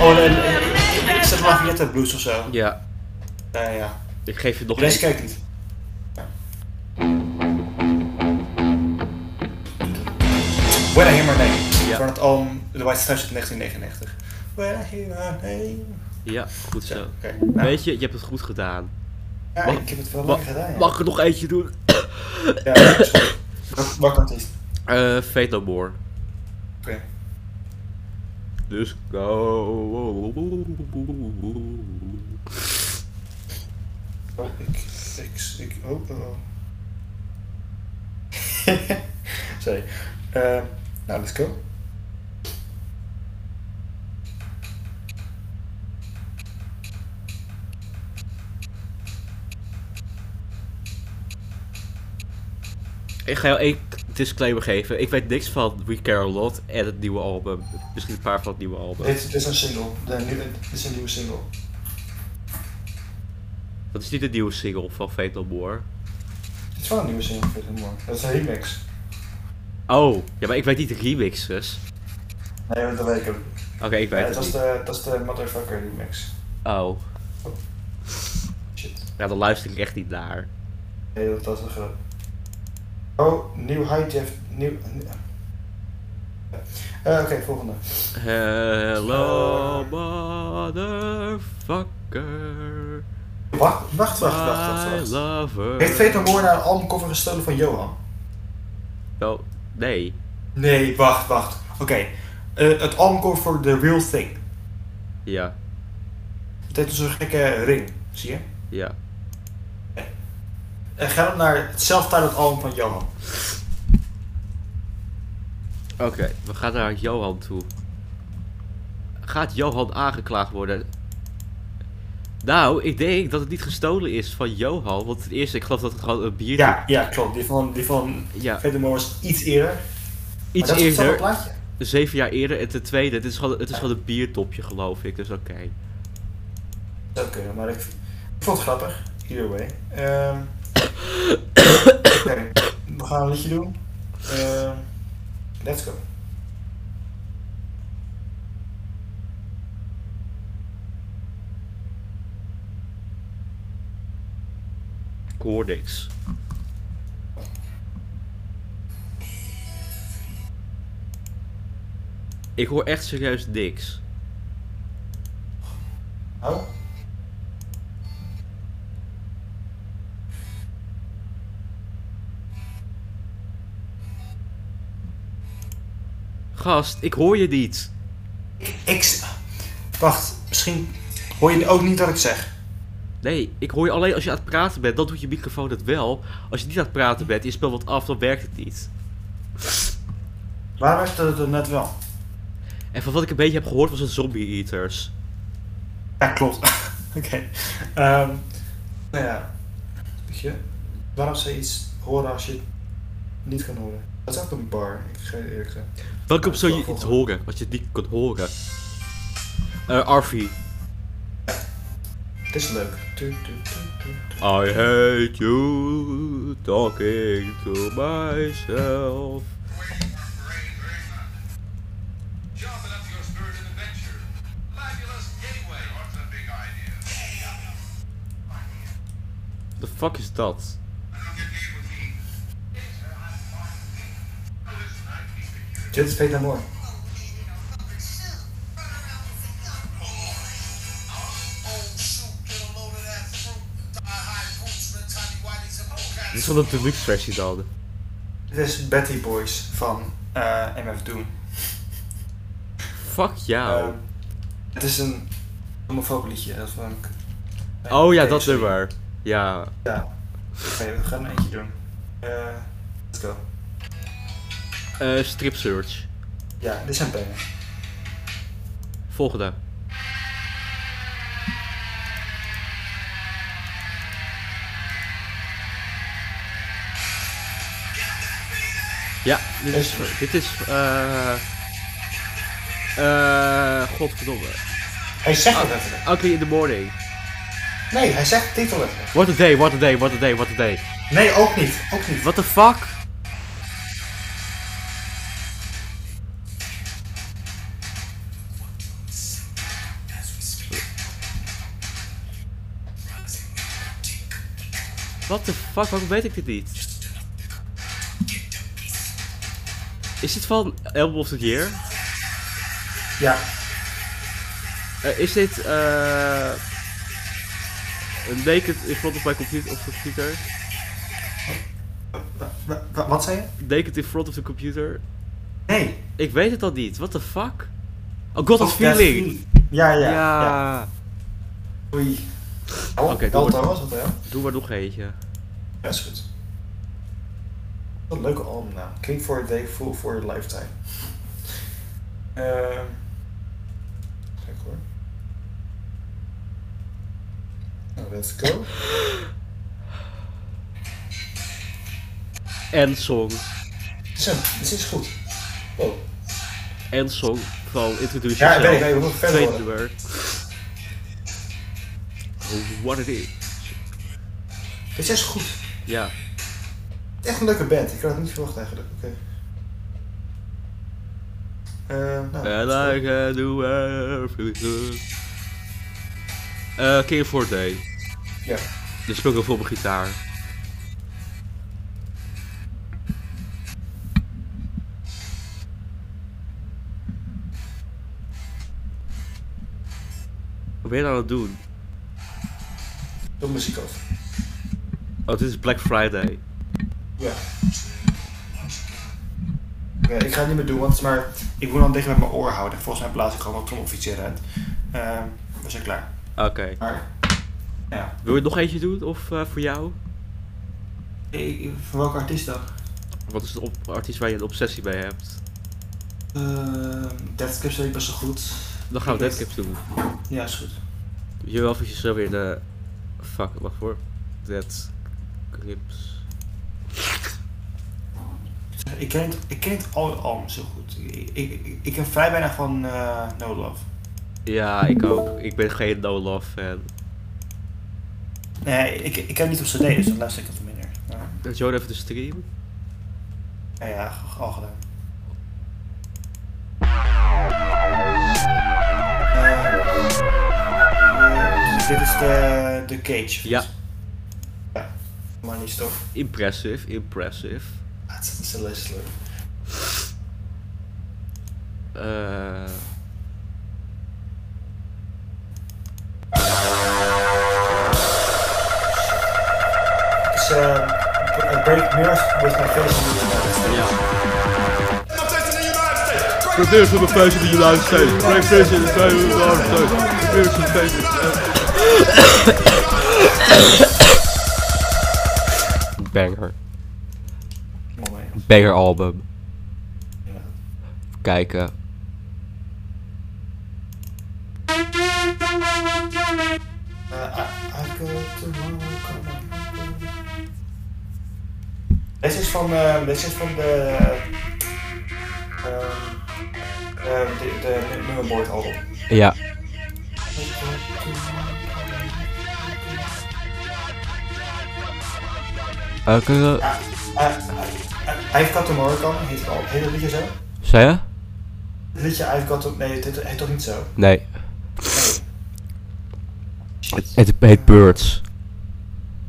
B: Oh, en, en, is dat Lafayette Blues of zo?
A: Ja,
B: Ja, ja.
A: ik geef je nog
B: Deze
A: een.
B: kijk niet. When I Hear My Name.
A: Ja.
B: Van het album The White Stripes uit 1999. When I Hear My Name.
A: Ja, goed
B: Zo,
A: zo.
B: oké. Nou,
A: Weet je, je hebt het goed gedaan.
B: ja,
A: mag-
B: ik heb het wel
A: mag-
B: lekker gedaan, ja.
A: Mag ik er nog eentje doen?
B: Ja, dat is goed. Wat- Wat artiest?
A: Eh, Fate No More.
B: Oké.
A: Dus go.
B: Oh, ik, ik, ik, oh, oh, [laughs] oh. Sorry. Ehm, nou, let's go.
A: Ik ga jou één disclaimer geven. Ik weet niks van We Care A Lot en het nieuwe album. Misschien een paar van het nieuwe album.
B: Dit, dit is een single. De, nieuwe- dit is een nieuwe single.
A: Dat is niet de nieuwe single van Fatal More.
B: Het is wel een nieuwe single, vind ik mooi. Dat is een remix.
A: Oh, ja, maar ik weet niet de remixes.
B: Nee, dat weet ik ook.
A: Oké, ik
B: Ja,
A: weet het
B: dat, is
A: niet.
B: de, dat is de motherfucker remix.
A: Oh,
B: Shit.
A: ja, dan luister ik echt niet naar.
B: Nee, dat, dat is een grap. Oh, nieuw high Jeff. Nieuw. nieuw- Eh, Oké, volgende.
A: Hello, motherfucker.
B: Wacht, wacht, wacht,
A: I
B: wacht, wacht. wacht.
A: love
B: Heeft
A: her.
B: Veter Moor naar een albumcover gestolen van Johan?
A: Oh, nee.
B: Nee, wacht, wacht. Oké. Eh, het albumcover voor The Real Thing.
A: Ja,
B: Het heeft dus een gekke ring, zie je?
A: ja.
B: En Eh, gaat naar het zelftitled album van Johan.
A: Oké, we gaan naar Johan toe. Gaat Johan aangeklaagd worden? Nou, ik denk dat het niet gestolen is van Johan. Want ten eerste, ik geloof dat het gewoon een biertje...
B: Ja, ja, klopt. Die van, die van
A: ja
B: Veter Moor was iets eerder. Maar
A: iets
B: dat is hetzelfde
A: eerder.
B: plaatje.
A: Zeven jaar eerder. En ten tweede, het is gewoon, het is gewoon een biertopje, geloof ik. Dus oké.
B: Dat zou kunnen, maar ik, ik vond het grappig. Either way. Ehm, [coughs] Oké, we gaan een liedje doen. Ehm, let's go.
A: Ik hoor niks. Ik hoor echt serieus niks.
B: Oh?
A: Gast, ik hoor je niet.
B: Ik. s- Wacht, misschien hoor je ook niet wat ik zeg.
A: Nee, ik hoor je alleen als je aan het praten bent. Dan doet je microfoon het wel. Als je niet aan het praten bent, je speelt wat af, dan werkt het niet.
B: Waar werd het er net wel?
A: En van wat ik een beetje heb gehoord was het Zombie Eaters.
B: Ja, klopt. [laughs] Oké. Ehm nou ja. Weet je, waarom zou je iets horen als je het niet kan horen? Dat is echt een bar, ik ga je eerlijk zeggen.
A: Welkom zou je iets horen, als je het niet kunt horen? Eh, Arfie.
B: Het is leuk. Tu, tu, tu, tu, tu.
A: I hate you talking to myself. The fuck is dat?
B: Dit is Peter Moor.
A: Dit is wel een deluxe versie dan.
B: Dit is Betty Boys van eh, MF Doom.
A: Fuck jou.
B: Ehm, het is een homofoob liedje. Dat vond ik...
A: oh ja,
B: Oké,
A: dat
B: sorry.
A: nummer. Ja.
B: Ja. Oké, we gaan een eentje doen. Eh, let's go.
A: Eh, strip search.
B: Ja, dit zijn benen.
A: Volgende. Ja, dit is. Dit is. eh eh godverdomme.
B: Hij zegt
A: Oh.
B: het letterlijk.
A: Ugly in the morning.
B: Nee, hij zegt de titel letterlijk.
A: What a day, what a day, what a day, what a day.
B: Nee, ook niet. Ook niet.
A: What the fuck? What the fuck? Waarom weet ik dit niet? Is dit van Album of the Year?
B: Ja.
A: Eh, is dit eh Naked in front of my computer? Of computer?
B: Wa- wa- wa- Wat zei je?
A: Naked in front of the computer?
B: Nee.
A: Ik weet het al niet. What the fuck? Oh, God of
B: Oh, dat
A: Feeling.
B: Ja, ja.
A: Ja.
B: ja. Oei. Oh,
A: Oké,
B: Oké,
A: doe
B: Delta
A: maar.
B: was het wel.
A: Doe maar nog eentje.
B: Ja, is goed. Wat een leuke albumnaam. King for a Day, Fool for a Lifetime. Ehm. kijk hoor. Nou, let's go.
A: En Song.
B: Zo, dit is goed. Wow.
A: En Song van Introduce
B: Ja, ik weet,
A: Yourself.
B: ik weet, we moeten verder
A: Tweede
B: worden.
A: nummer. Oh, What it is.
B: Dit is goed.
A: Ja.
B: Echt een leuke band. Ik had het niet verwacht eigenlijk. Oké. Eh, nou,
A: And I can do everything. Eh, King for a Day.
B: Ja.
A: Dit speel ik heel veel op mijn gitaar. Wat ben je nou aan het doen?
B: Doe muziek af.
A: Oh, dit is Black Friday.
B: Ja. Ja, ik ga het niet meer doen, want maar ik moet dan dicht met mijn oor houden. Volgens mij blaas ik gewoon wat officier uit. Ehm, we zijn klaar.
A: Oké.
B: Maar, ja.
A: Wil je nog eentje doen? Of eh, voor jou?
B: Ik, ik- voor welke artiest dan?
A: Wat is de op- artiest waar je een obsessie bij hebt?
B: Ehm Deathcaps weet ik best wel goed.
A: Dan gaan we Deadcaps doen.
B: Ja, is goed.
A: Doe je wel eventjes zo weer de... Fuck, wacht voor. Deadcaps.
B: Ik ken het, ik ken het al, al zo goed. Ik, ik, ik, ik ken vrij weinig van eh, No Love.
A: Ja, ik ook. Ik ben geen No Love fan.
B: Nee, ik, ik ken het niet op cd, dus dan luister ik het minder. Ja,
A: Doet Joan even de stream?
B: ja, Nou ja g- al gedaan. Eh, eh, dit is de, de Cage.
A: Ja.
B: Ja, maar niet stof.
A: Impressive, impressive.
B: Ah, Het is een Leslie.
A: Eh.
B: Het is eh, b- Break Mirrors with my face in the Dark.
A: ja. Probeer voor mijn face in de United States. Break face in the United States. Probeer voor mijn face in the Banger.
B: Mooi.
F: Banger album.
B: Ja.
F: Even kijken.
B: Eh, I- I go tomorrow, come on. Deze is van, eh, deze is van de, ehm eh, de, de nummerboard album.
F: Ja. Welke eh,
B: Eh, eh, I've Got Tomorrow Coming heet het al. Heet dat liedje zo?
F: zei je?
B: Het liedje I've Got Tomorrow... Nee, het heet toch niet zo?
F: Nee.
B: Nee.
F: Het heet Birds.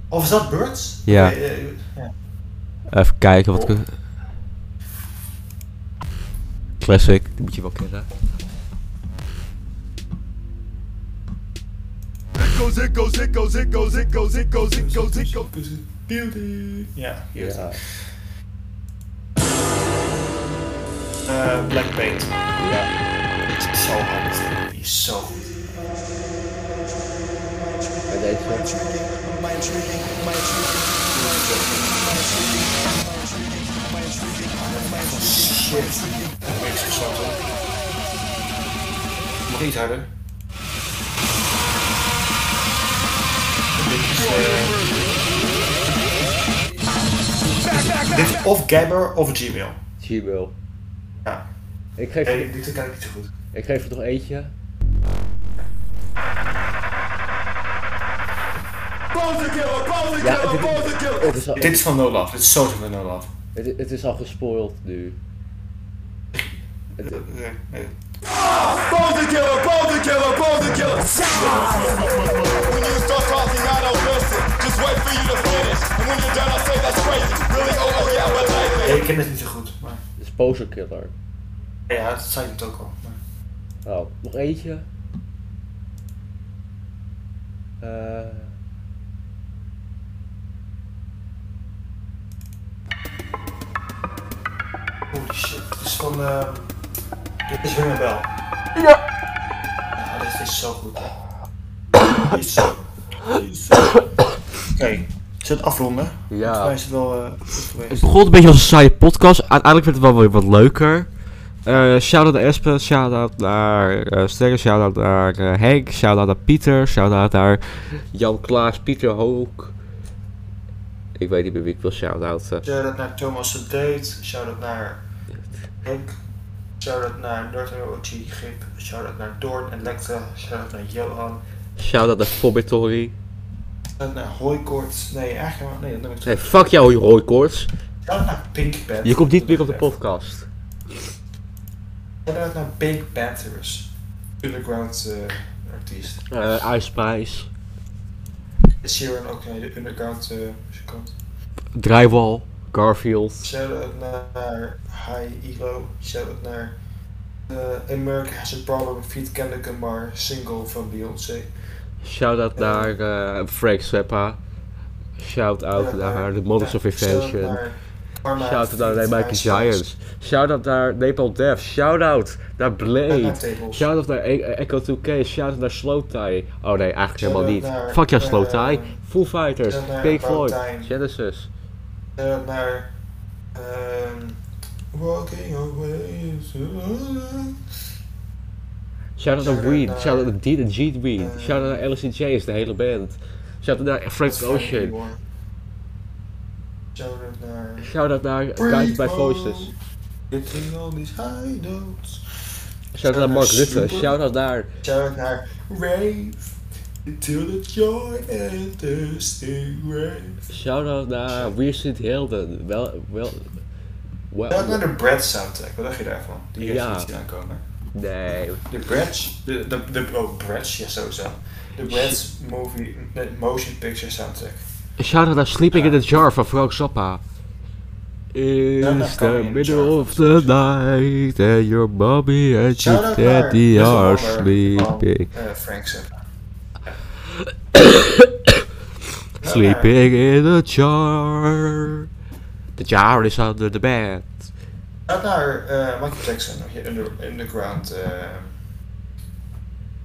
B: Of is dat Birds?
F: Ja.
B: Nee, eh, ja.
F: Even kijken wat ik. Classic, die moet je wel kennen.
B: Ja, hier is het. Eh, Black Paint. Ja. Het is zo hard. Die is zo goed. Shit. Dat is zo Nog iets harder. Dit is, eh, Dit is of Gabber of Gmail.
A: Gmail.
B: Ja.
A: Ik geef,
B: Nee, dit kan ik niet zo goed.
A: ik geef er nog eentje. Ja, dit, het, is al,
B: Dit is van No Love. Dit is zo van No Love.
A: het, het is al gespoild nu.
B: Nee, nee. Nee, ik ken het niet zo goed, maar...
A: Het is Poser Killer.
B: Ja, dat zei ik het ook al. maar-
A: Oh, nog eentje. Eh.
B: Holy shit, dit is van... ehm dit is Ring a Bell. Ja! Ja, dit is zo goed, hè. Dit is zo... dit is zo- Oké, zet afronden. Volgens mij
A: ja.
B: is het wel eh, goed geweest.
F: Het begon een beetje als een saaie podcast. Uiteindelijk werd het wel weer wat leuker. Eh shout-out naar Espen, shout-out naar eh Sterren, shout-out naar eh, Henk, shout-out naar Pieter, shout-out naar
A: Jan Klaas, Pieter Hook. Ik weet niet meer wie ik wil shout-outen.
B: Shout-out naar Thomas de Date. Shout-out naar Henk. Shout-out naar Northern OG Grip. Shout-out naar Doorn en Lecter. Shout-out naar Johan.
A: Shout-out naar Fobitory.
B: eh, naar hooikoorts. Nee, eigenlijk maar, nee, dat noem ik zo.
A: Nee, fuck jou, rooikoorts.
B: Shout out naar Pink Panther.
A: Je komt niet meer op de podcast.
B: Shout out naar Pink Panthers. Underground eh, artiest.
A: Eh Ice Spice.
B: Is Sharon ook een de underground eh, muzikant.
A: Drywall. Garfield.
B: Shout out naar High Elo. Shout out naar eh, America Has a Problem feat. Kendrick Lamar single van Beyoncé.
A: Shout-out naar eh, Frank Zappa. Shout-out naar The Models of Invention. Shout-out naar Nijmegen Giants. Shout-out naar Nepal Dev. Shout-out naar Blade. Shout-out naar E- Echo 2K. Shout-out naar Slow Tie. Oh nee, eigenlijk helemaal
B: Shout-out
A: niet.
B: naar,
A: Fuck jou Slow
B: eh,
A: Tie. Foo Fighters.
B: shout-out naar
A: Pink
B: About
A: Floyd.
B: Time.
A: Genesis.
B: Shout-out naar Eh, ehm, Walking Away.
A: Shout-out naar
B: Shout-out
A: Weed.
B: naar,
A: Shout-out naar Dean en Jeet Weed.
B: eh,
A: Shout-out naar Alice in Chains, de hele band. Shout-out naar Frank Ocean.
B: Shout-out naar...
A: Shout-out naar Guided by Voices.
B: Getting all these high notes.
A: Shout-out naar
B: naar
A: Mark Rutte.
B: Super.
A: Shout-out naar...
B: Shout-out naar Rave. Until the joy and thirsty rave.
A: Shout-out naar Weird Hilden. Wel, wel...
B: Shout-out naar
A: Wel...
B: de Brad soundtrack. Wat dacht je daarvan? Die heeft
A: Ja.
B: iets zien aankomen.
A: Nee.
B: De Bratz, de, de, de, oh, Bratz, ja sowieso. De Bratz movie, de motion picture soundtrack.
A: Shout-out naar Sleeping in the Jar van Frank Zappa. It's the
B: kan in the jar.
A: middle of the night and your mommy and your
B: Shout-out naar
A: daddy
B: Whistle
A: are
B: Walker van,
A: sleeping.
B: eh, Frank Zappa.
A: [coughs] Sleeping in the jar. The jar is under the bed.
B: Shout naar eh, Michael Jackson, nog je under, underground eh,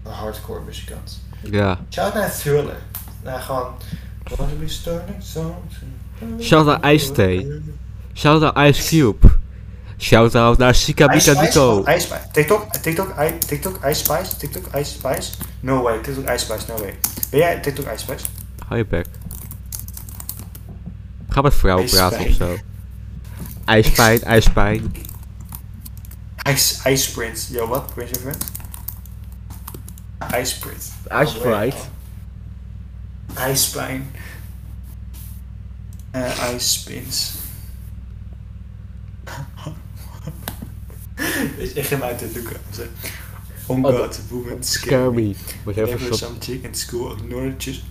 B: uh, hardcore muzikant.
A: Ja.
B: Shout naar Thriller. Naar gewoon. Wanna be starting something.
A: Shout-out naar Ice Tea. Shout-out naar Ice Cube. Shout-out naar Sika
B: Ice
A: Mika
B: Spice,
A: Nico.
B: oh, Ice Spice. TikTok, TikTok, I- TikTok, Ice Spice, TikTok, Ice Spice. No way, TikTok, Ice Spice, no way. Ben jij TikTok, Ice Spice?
A: Hou je bek. Ga met vrouwen
B: Ice
A: praten of
B: Spice.
A: zo. IJspijn, ijspijn.
B: Ice, Ice Prince. Yo, wat? Prince of Prince? Ice Prince.
A: Ice Sprite.
B: Ice Spine. Eh, ice Spins. [laughs] Weet je, ik ga hem uit de doeken. Zo. Oh
A: Oh,
B: god, woman, scare
A: Scare
B: me.
A: me. With
B: There
A: every
B: was
A: shot
B: some chick in school acknowledges,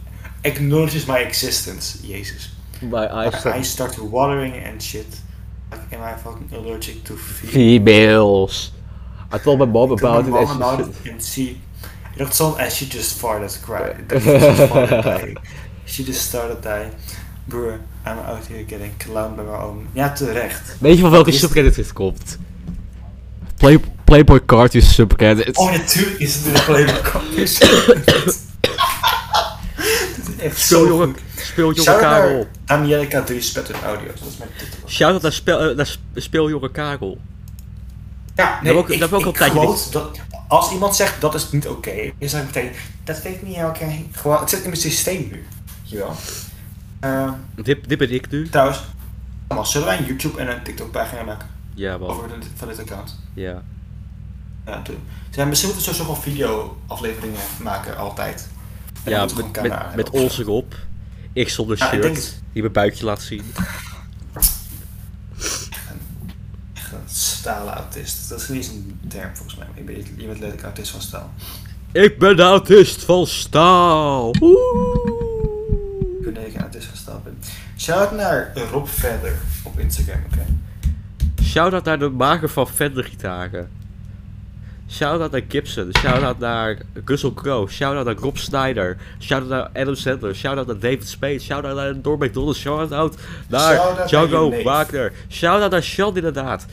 B: acknowledges my existence. Jezus.
A: my eyes
B: I start watering and shit. Like, am I fucking allergic to fear?
A: females. I told my mom about it
B: my
A: and
B: mom about
A: she
B: it and she that's all and eh, she just farted cry she just farted dying. she just started dying broer I'm out here getting clowned by my own ja terecht
A: Weet je van welke
B: Is-
A: subreddit dit komt? Play, Playboy Cartoon subreddit.
B: oh natuurlijk is het in de playbook Dit is echt
A: speel
B: zo
A: jongen,
B: goed.
A: speel jongen
B: Shout-out naar
A: Karel.
B: Angelica 3 Spettered Audio dat is mijn titel
A: Shout-out naar, speel, eh, naar sp- speeljongen Karel.
B: ja
A: heb ik ook- dat heb ik ook al een tijdje
B: quote dat, als iemand zegt dat is niet oké dan zeg ik meteen dat vind ik niet oké gewoon het zit in mijn systeem nu jawel Eh
A: Dit, dit ben ik nu.
B: Trouwens, allemaal, zullen wij een YouTube en een TikTok pagina maken
A: Ja man,
B: over dit- van dit account?
A: ja.
B: Ja, doen. Zijn misschien moeten we sowieso gewoon video afleveringen maken altijd. En
A: Ja,
B: dan moeten we
A: met,
B: gewoon camera
A: met, met
B: hebben.
A: ons erop. Ik zonder
B: Ja, ik
A: shirt,
B: denk het.
A: die mijn buikje laat zien.
B: Echt een stalen autist. Dat is niet eens een term volgens mij. maar Je bent, je bent letterlijk autist van staal.
A: Ik ben de autist van staal.
B: Ik weet dat ik een autist van staal ben. Shout naar Rob Verder op Instagram, oké?
A: Shout-out naar de maker van Fender gitaren. Shout-out naar Gibson. Shout-out naar Russell Crowe. Shout-out naar Rob Snyder. Shout-out naar Adam Sandler. Shout-out naar David Spade. Shout-out naar Norm MacDonald. Shout-out
B: Shout-out
A: naar
B: naar
A: Django
B: je neef.
A: Wagner. Shout-out naar Sean inderdaad.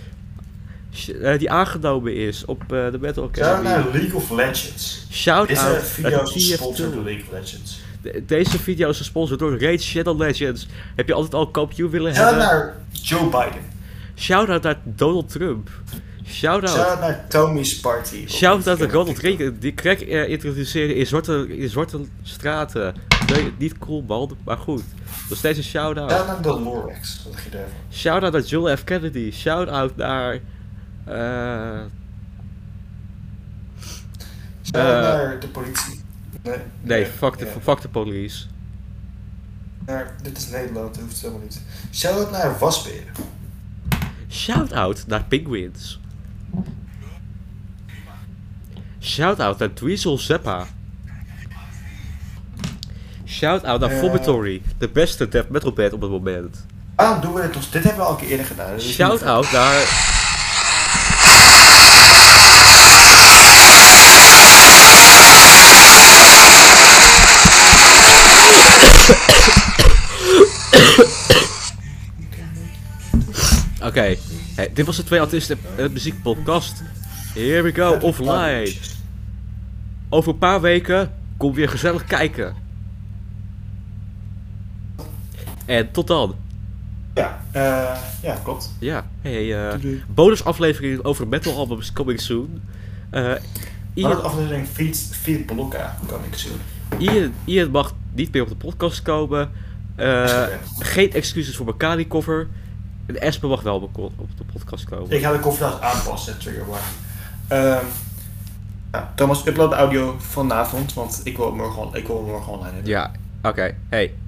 A: Sh- eh, die aangenomen is op eh, de Metal
B: Shout
A: Academy.
B: naar League of Legends.
A: Oh,
B: Deze
A: Shout-out
B: video
A: naar
B: is gesponsord door
A: TF2.
B: League of Legends.
A: De- Deze video is gesponsord door Raid Shadow Legends. Heb je altijd al een kampioen willen
B: Shout
A: hebben?
B: naar Joe Biden.
A: Shout-out naar Donald Trump. Shout-out.
B: Shout naar Tommy's Party. op
A: Oh. Shout-out aan
B: Instagram,
A: Ronald
B: TikTok.
A: Reagan, die crack eh, introduceerde in zwarte, in zwarte straten. Nee, niet cool man, maar goed. Nog steeds een
B: Shout
A: shout-out.
B: naar de Lorax. Wat dacht je daarvan?
A: Shout-out naar John F. Kennedy. Shout-out naar... eh,
B: Shout
A: Eh,
B: naar de politie.
A: nee, fuck de,
B: ja.
A: fuck de police.
B: naar... Dit is Nederland, dat hoeft helemaal niet. Shout-out naar wasberen.
A: Shout-out naar Penguins. Shout-out naar Dweezil Zeppa. Shout-out naar
B: Ja.
A: Vomitory, de beste death metal band op het moment.
B: Waarom Ah, doen we dit ons? Dit hebben we al een keer eerder gedaan. dus dit is niet-
A: Shout-out naar... Oké, hey, dit was de Twee Artiesten en het Muziek podcast. Here we go, offline. Over een paar weken kom weer gezellig kijken. En tot dan.
B: Ja, eh, ja, klopt.
A: Ja, hey, eh bonusaflevering over metal albums coming soon. Eh,
B: Maar
A: Ian,
B: de aflevering Feed, feed Blokka kan ik zo.
A: Ian, Ian mag niet meer op de podcast komen. Eh, geen excuses voor mijn cover. En Espen mag wel op de- op de podcast komen.
B: Ik ga de koffer aanpassen, trigger warning. Ehm, ja, Thomas, upload de audio vanavond, want ik wil het morgen, on- ik wil het morgen online hebben.
A: Ja, oké. Hey,